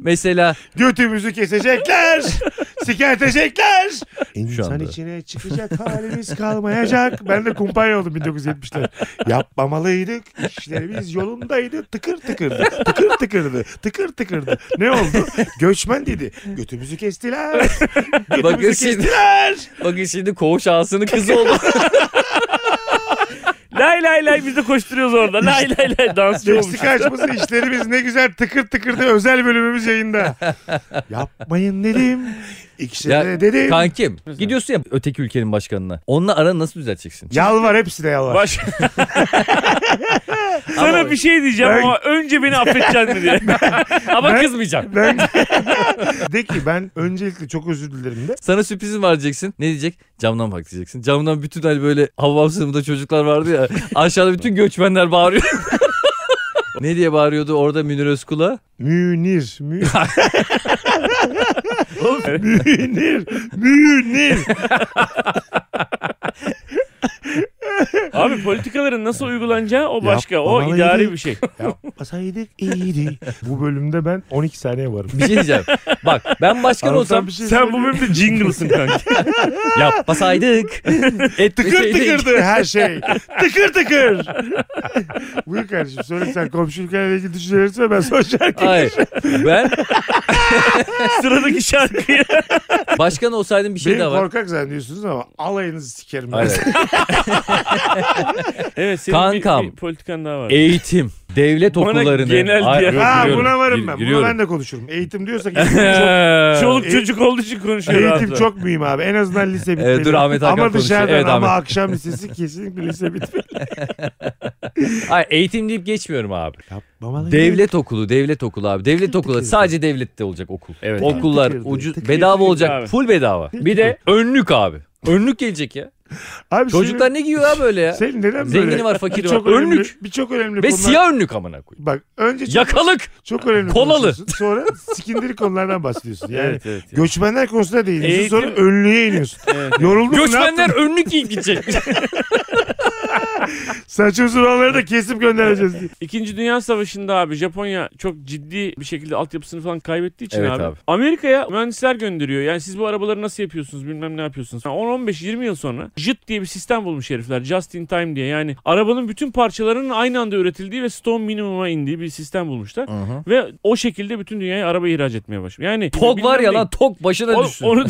Speaker 6: Mesela
Speaker 4: Götümüzü kesecekler. Sikertecekler. İnsan
Speaker 6: anda.
Speaker 4: içine çıkacak halimiz kalmayacak. Ben de kumpanya oldum 1970'ler. Yapmamalıydık. İşlerimiz yolundaydı. Tıkır tıkırdı. Tıkır tıkırdı. Tıkır tıkırdı. Ne oldu? Göçmen dedi. Götümüzü kestiler.
Speaker 6: bakın
Speaker 4: Götümüzü
Speaker 6: şimdi,
Speaker 4: kestiler.
Speaker 6: bakın şimdi koğuş ağasının kızı oldu.
Speaker 5: lay lay lay biz de koşturuyoruz orada. Lay lay lay dansçı olmuş.
Speaker 4: Meksika açması işlerimiz ne güzel tıkır tıkırdı özel bölümümüz yayında. Yapmayın dedim. İkisine
Speaker 6: Ya,
Speaker 4: de dedim.
Speaker 6: Kankim gidiyorsun ya öteki ülkenin başkanına. Onunla aranı nasıl düzelteceksin?
Speaker 4: Yalvar hepsine yalvar.
Speaker 5: Baş... Sana bir şey diyeceğim
Speaker 4: Ben-
Speaker 5: ama önce beni affedeceksin mi diye.
Speaker 6: Ama
Speaker 4: Ben-
Speaker 6: kızmayacağım.
Speaker 4: Ben... de ki ben öncelikle çok özür dilerim de.
Speaker 6: Sana sürprizim var diyeceksin. Ne diyecek? Camdan bak diyeceksin. Camdan bütün hani böyle havvam sınıfında çocuklar vardı ya. Aşağıda bütün göçmenler bağırıyor. ne diye bağırıyordu orada Münir Özkul'a?
Speaker 4: Münir. Mü... Münir. Münir.
Speaker 5: Abi politikaların nasıl uygulanacağı o başka. o
Speaker 4: Yapmamalıydı.
Speaker 5: idari bir şey.
Speaker 4: Yapmasaydık iyiydi. Bu bölümde ben 12 saniye varım.
Speaker 6: Bir şey diyeceğim. Bak ben başkan
Speaker 4: Anlatan
Speaker 6: olsam
Speaker 4: bir şey
Speaker 5: Sen bu
Speaker 4: söyleyeyim.
Speaker 5: bölümde jingle'sın kanka.
Speaker 6: yapmasaydık.
Speaker 4: Tıkır
Speaker 6: etmeseydik.
Speaker 4: tıkırdı her şey. Tıkır tıkır. Buyur kardeşim söyle sen komşu ülkelerle ilgili düşüncelerini söyle ben son şarkıyı.
Speaker 6: Hayır. Ben
Speaker 5: Sıradaki şarkıyı.
Speaker 6: başkan olsaydım bir şey
Speaker 4: Beni
Speaker 6: daha var.
Speaker 4: korkak zannediyorsunuz ama alayınızı sikerim. ben.
Speaker 6: Hayır.
Speaker 5: Evet senin bir-
Speaker 6: Kankam. E-
Speaker 5: bir, politikan daha var.
Speaker 6: Eğitim. Devlet
Speaker 5: Bana
Speaker 6: okullarını.
Speaker 5: genel
Speaker 6: Ay-
Speaker 5: diye-
Speaker 6: Yok,
Speaker 4: Ha
Speaker 5: giriyorum.
Speaker 4: buna varım
Speaker 6: Gir-
Speaker 4: ben. Buna
Speaker 6: giriyorum.
Speaker 4: ben de konuşurum. Eğitim diyorsak eğitim çok
Speaker 5: Çoluk
Speaker 4: E-
Speaker 5: çocuk olduğu için konuşuyor.
Speaker 4: Eğitim
Speaker 5: rahat
Speaker 4: çok mühim abi. En azından lise bitmeli.
Speaker 6: Evet, dur Ahmet Hakan
Speaker 4: Ama
Speaker 6: konuşuyor.
Speaker 4: dışarıdan
Speaker 6: Evet,
Speaker 4: ama
Speaker 6: Ahmet.
Speaker 4: akşam lisesi kesinlikle lise bitmeli.
Speaker 6: Ay, eğitim deyip geçmiyorum abi.
Speaker 4: Yapmamalı.
Speaker 6: Devlet okulu, devlet okulu abi. Devlet okulu.
Speaker 4: tıkır.
Speaker 6: Sadece devlette olacak okul.
Speaker 5: Evet.
Speaker 6: Okullar
Speaker 4: Tıkır tıkır,
Speaker 6: ucuz
Speaker 4: tıkır
Speaker 6: bedava
Speaker 5: tıkır
Speaker 6: olacak.
Speaker 5: abi.
Speaker 6: Full bedava. Bir de önlük abi. Önlük gelecek ya.
Speaker 4: Abi
Speaker 6: Çocuklar ne giyiyor abi öyle ya?
Speaker 4: senin, senin neden böyle?
Speaker 6: Zengini var, fakiri
Speaker 4: Birçok
Speaker 6: var.
Speaker 4: önemli,
Speaker 6: Önlük.
Speaker 4: Birçok önemli
Speaker 6: Ve
Speaker 4: konular-
Speaker 6: siyah önlük amına koyayım.
Speaker 4: Bak önce çok,
Speaker 6: Yakalık.
Speaker 4: çok önemli
Speaker 6: Kolalı.
Speaker 4: konuşuyorsun. Sonra sikindirik konulardan bahsediyorsun. Yani
Speaker 5: Evet, evet.
Speaker 4: göçmenler konusunda değiniyorsun.
Speaker 5: Eğitim-
Speaker 4: Sonra önlüğe iniyorsun. Yoruldun mu? ne yaptın?
Speaker 6: Göçmenler önlük giyip gidecek.
Speaker 4: Saçma sapanları da kesip göndereceğiz diye.
Speaker 5: İkinci Dünya Savaşı'nda abi Japonya çok ciddi bir şekilde altyapısını falan kaybettiği için
Speaker 6: Evet
Speaker 5: abi,
Speaker 6: abi.
Speaker 5: Amerika'ya mühendisler gönderiyor. Yani siz bu arabaları nasıl yapıyorsunuz bilmem ne yapıyorsunuz. Yani 10-15-20 yıl sonra JIT diye bir sistem bulmuş herifler. Just in time diye yani arabanın bütün parçalarının aynı anda üretildiği ve stone minimuma indiği bir sistem bulmuşlar. Ve o şekilde bütün dünyaya araba ihraç etmeye başlıyor. Yani
Speaker 6: Tok
Speaker 5: bilmem
Speaker 6: var ya
Speaker 5: ne-
Speaker 6: lan tok başına
Speaker 5: Oğlum,
Speaker 6: düşsün.
Speaker 5: Onu,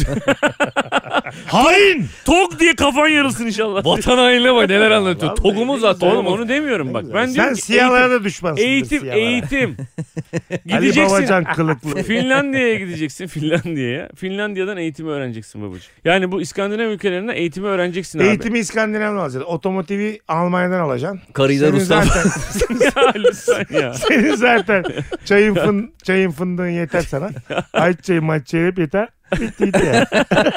Speaker 4: Hain!
Speaker 5: tok diye kafan yarılsın inşallah.
Speaker 6: Vatan hainine bak neler anlatıyor.
Speaker 4: Vallahi
Speaker 6: Togumuz zaten
Speaker 5: Oğlum
Speaker 6: oğlum.
Speaker 5: onu demiyorum bak. Ben
Speaker 4: Sen
Speaker 5: diyorum ki
Speaker 4: siyahlara da düşmansın.
Speaker 5: eğitim, eğitim, eğitim.
Speaker 4: Ali
Speaker 5: Gideceksin
Speaker 4: Babacan kılıklı.
Speaker 5: Finlandiya'ya gideceksin Finlandiya'ya. Finlandiya'dan eğitimi öğreneceksin babacığım. Yani bu İskandinav ülkelerinden eğitimi öğreneceksin abi.
Speaker 4: Eğitimi İskandinav'dan alacaksın. Otomotivi Almanya'dan alacaksın.
Speaker 6: Karıyı da
Speaker 4: Senin
Speaker 6: Rus'tan.
Speaker 4: zaten,
Speaker 5: ya lütfen ya.
Speaker 4: senin zaten çayın, fın, çayın fındığın yeter sana. Ayç çayı maç çayı hep yeter. Bitti gitti yani.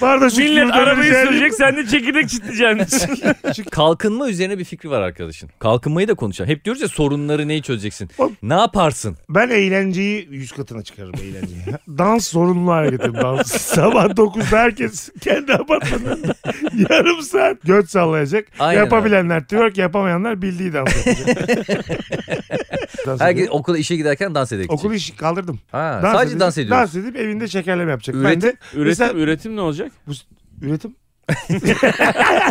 Speaker 4: Pardon şu şey
Speaker 5: Millet
Speaker 4: kürdanı
Speaker 5: arabayı
Speaker 4: rica edeyim.
Speaker 5: sürecek sen de çekirdek çitleyeceksin.
Speaker 6: Kalkınma üzerine bir fikri var arkadaşın. Kalkınmayı da konuşalım. Hep diyoruz ya sorunları neyi çözeceksin?
Speaker 4: Oğlum.
Speaker 6: Ne yaparsın?
Speaker 4: Ben eğlenceyi yüz katına çıkarırım eğlenceyi. dans zorunlu hareketim dans. Sabah 9'da herkes kendi apartmanında yarım saat göt sallayacak.
Speaker 6: Aynen
Speaker 4: Yapabilenler twerk yapamayanlar bildiği dans yapacak. dans
Speaker 6: Herkes
Speaker 4: Herkes...
Speaker 6: okula işe giderken dans edecek.
Speaker 4: Okul işi kaldırdım.
Speaker 6: Ha, sadece
Speaker 4: edip-
Speaker 6: dans ediyoruz.
Speaker 4: Dans edip evinde şekerleme yapacak.
Speaker 6: Üretim-
Speaker 4: ben de
Speaker 5: üretim,
Speaker 4: Mesela-
Speaker 5: üretim ne olacak?
Speaker 4: üretim.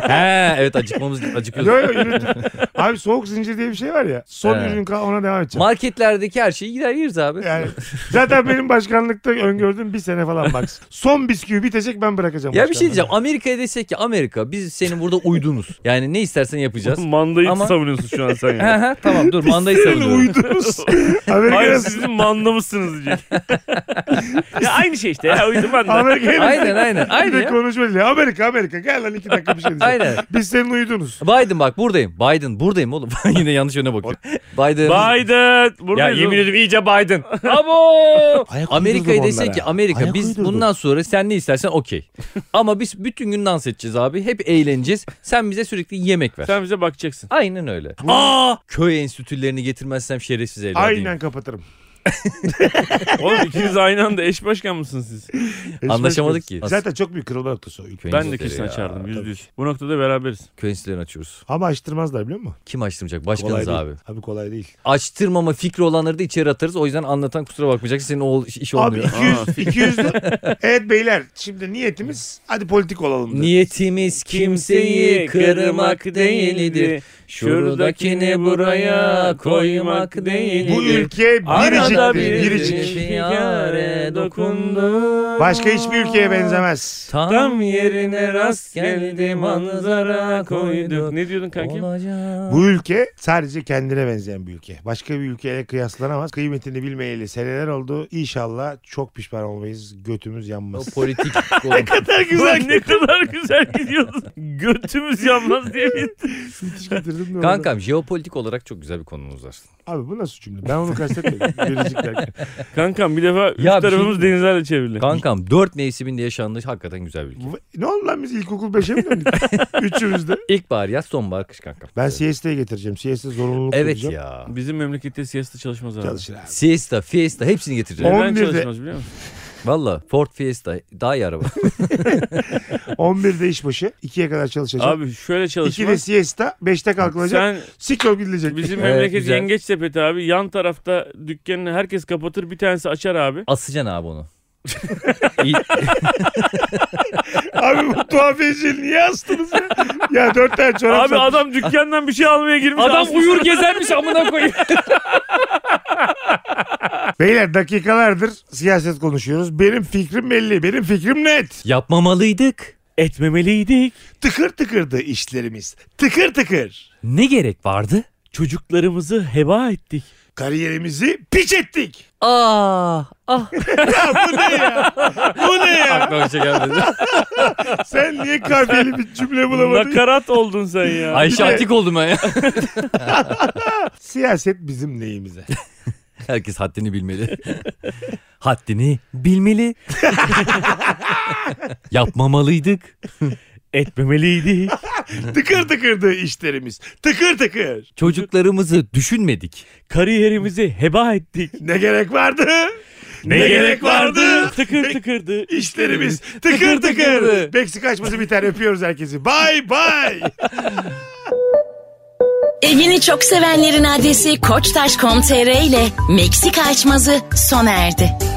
Speaker 6: He evet acıkmamız acıkıyoruz.
Speaker 4: Yok yok üretim. Abi soğuk zincir diye bir şey var ya. Son
Speaker 6: Evet.
Speaker 4: ürün kal ona devam edeceğim.
Speaker 6: Marketlerdeki her şeyi gider yeriz abi.
Speaker 4: yani zaten benim başkanlıkta öngördüğüm bir sene falan bak. Son bisküvi bitecek ben bırakacağım.
Speaker 6: Ya bir şey
Speaker 4: başkanlığı.
Speaker 6: diyeceğim. Amerika'ya desek ki Amerika biz senin burada uydunuz. Yani ne istersen yapacağız.
Speaker 5: Mandayı
Speaker 6: Ama-
Speaker 5: savunuyorsun şu an sen
Speaker 6: He
Speaker 5: ya.
Speaker 6: he tamam dur mandayı
Speaker 4: Senin
Speaker 6: savunuyorum.
Speaker 4: uydunuz.
Speaker 5: Hayır
Speaker 4: Amerika'ya
Speaker 5: sizin manda mısınız diyecek. ya aynı şey işte ya uydum manda.
Speaker 4: Amerika'ya
Speaker 6: Aynen aynen.
Speaker 4: bir
Speaker 6: Aynen
Speaker 4: de
Speaker 6: ya.
Speaker 4: konuşma dili. Amerika Amerika gel lan iki dakika bir şey diyeceğim.
Speaker 6: Aynen.
Speaker 4: Biz senin uydunuz.
Speaker 6: Biden bak buradayım. Biden buradayım oğlum. Yine yanlış yöne bakıyorum. Biden.
Speaker 5: Biden.
Speaker 6: Ya
Speaker 5: Buradayız
Speaker 6: yemin
Speaker 5: oğlum.
Speaker 6: ederim iyice Biden. Abo.
Speaker 4: Ayak
Speaker 6: Amerika'yı
Speaker 4: uydurdum
Speaker 6: desek ki
Speaker 4: onlara.
Speaker 6: Amerika
Speaker 4: Ayak
Speaker 6: biz
Speaker 4: uydurdum.
Speaker 6: bundan sonra sen ne istersen okey. Ama biz bütün gün dans edeceğiz abi. Hep eğleneceğiz. Sen bize sürekli yemek ver.
Speaker 5: Sen bize bakacaksın.
Speaker 6: Aynen öyle. Aa! Köy enstitülerini getirmezsem şerefsiz evladım.
Speaker 4: Aynen kapatırım.
Speaker 5: Oğlum ikiniz aynı anda eş başkan mısınız siz?
Speaker 4: Eşleşmeyiz.
Speaker 6: Anlaşamadık ki.
Speaker 4: Zaten çok büyük kırılma noktası o ülke.
Speaker 6: Köy
Speaker 5: Ben de
Speaker 6: enstitüleri
Speaker 5: kesin
Speaker 6: ya.
Speaker 5: açardım yüzde yüz. Bu noktada beraberiz.
Speaker 6: Köy enstitülerini açıyoruz.
Speaker 4: Ama açtırmazlar biliyor musun?
Speaker 6: Kim açtırmayacak?
Speaker 4: Kolay
Speaker 6: Başkanız
Speaker 4: değil.
Speaker 6: abi.
Speaker 4: Abi kolay değil.
Speaker 6: Açtırmama fikri olanları da içeri atarız. O yüzden anlatan kusura bakmayacak. Senin o iş- iş
Speaker 4: Abi
Speaker 6: olmuyor.
Speaker 4: 200, 200 Evet beyler şimdi niyetimiz hadi politik olalım.
Speaker 6: Niyetimiz kimseyi kırmak değildir. Şuradakini buraya koymak değildir.
Speaker 4: Bu ülke
Speaker 6: Arada
Speaker 4: biriciktir.
Speaker 6: bir
Speaker 4: Biricik.
Speaker 6: yare dokundu.
Speaker 4: Başka hiçbir ülkeye benzemez.
Speaker 6: Tam yerine rast geldi manzara koyduk.
Speaker 5: Ne diyordun kankim?
Speaker 6: Olacak.
Speaker 4: Bu ülke sadece kendine benzeyen bir ülke. Başka bir ülkeyle kıyaslanamaz. Kıymetini bilmeyeli seneler oldu. İnşallah çok pişman olmayız. Götümüz
Speaker 6: O
Speaker 4: yanmaz.
Speaker 6: politik konu.
Speaker 5: kadar güzel ne kadar güzel gidiyordun. Götümüz yanmaz diye bir.
Speaker 4: Müthiş getirdin mi
Speaker 6: Kankam jeopolitik olarak çok güzel bir konumuz var.
Speaker 4: onu? Abi bu nasıl cümle? Ben onu kastetmedim. Biricik derken.
Speaker 5: Kankam bir defa üst
Speaker 6: Ya bir
Speaker 5: tarafımız
Speaker 6: şey-
Speaker 5: denizlerle çevrildi.
Speaker 6: Kankam dört mevsiminde yaşandığı hakikaten güzel bir ülke.
Speaker 4: Bu- Ne oldu lan biz ilkokul 5'e mi döndük? Üçümüz de.
Speaker 6: İlkbahar yaz sonbahar kış kankam.
Speaker 4: Ben CS'ye getireceğim. CS'de zorunluluk
Speaker 6: Evet
Speaker 4: koyacağım.
Speaker 6: ya.
Speaker 5: Bizim memlekette siyasete çalışmaz abi.
Speaker 4: Çalışır abi.
Speaker 6: Fiesta, Fiesta hepsini getireceğim.
Speaker 4: On-
Speaker 5: Neden
Speaker 4: 11'de
Speaker 5: çalışmaz biliyor musun?
Speaker 6: Valla Ford Fiesta daha iyi araba.
Speaker 4: 11'de işbaşı. 2'ye kadar çalışacağım.
Speaker 5: Abi şöyle
Speaker 4: 2'de
Speaker 5: çalışmaz.
Speaker 4: siesta. 5'te kalkılacak.
Speaker 5: Sen
Speaker 4: Sikol gidilecek.
Speaker 5: bizim
Speaker 6: Evet,
Speaker 5: memleket
Speaker 6: güzel.
Speaker 5: yengeç sepeti abi yan tarafta dükkanını herkes kapatır bir tanesi açar abi.
Speaker 6: Asacaksın abi onu. İyi-
Speaker 4: Abi bu tuhafiyeciyi niye astınız ya? ya 4 tane çorap
Speaker 5: Abi
Speaker 4: sat.
Speaker 5: adam dükkandan bir şey almaya girmiş.
Speaker 6: Adam
Speaker 5: aslında-
Speaker 6: uyur gezermiş amına koyayım.
Speaker 4: Beyler dakikalardır siyaset konuşuyoruz. Benim fikrim belli. Benim fikrim net.
Speaker 6: Yapmamalıydık.
Speaker 5: Etmemeliydik.
Speaker 4: Tıkır tıkırdı işlerimiz. Tıkır tıkır.
Speaker 6: Ne gerek vardı?
Speaker 5: Çocuklarımızı heba ettik.
Speaker 4: Kariyerimizi piç ettik.
Speaker 5: Ah, ah.
Speaker 4: Bu ne ya? Bu ne ya?
Speaker 6: Aklıma bir şey gelmedi.
Speaker 4: Sen niye kafiyeli bir cümle bulamadın?
Speaker 5: Nakarat oldun sen ya.
Speaker 6: Ayşe Atik oldum ben ya.
Speaker 4: Siyaset bizim neyimize?
Speaker 6: Herkes haddini bilmeli. haddini bilmeli. Yapmamalıydık.
Speaker 5: Etmemeliydi.
Speaker 4: tıkır tıkırdı işlerimiz. Tıkır tıkır.
Speaker 6: Çocuklarımızı düşünmedik.
Speaker 5: Kariyerimizi heba ettik.
Speaker 4: Ne gerek vardı? Ne,
Speaker 5: Tıkır tıkırdı.
Speaker 4: İşlerimiz tıkır tıkır. Meksika açması biter. Öpüyoruz herkesi. Bay bay.
Speaker 3: Evini çok sevenlerin adresi koçtaş.com.tr ile Meksika açmazı sona erdi.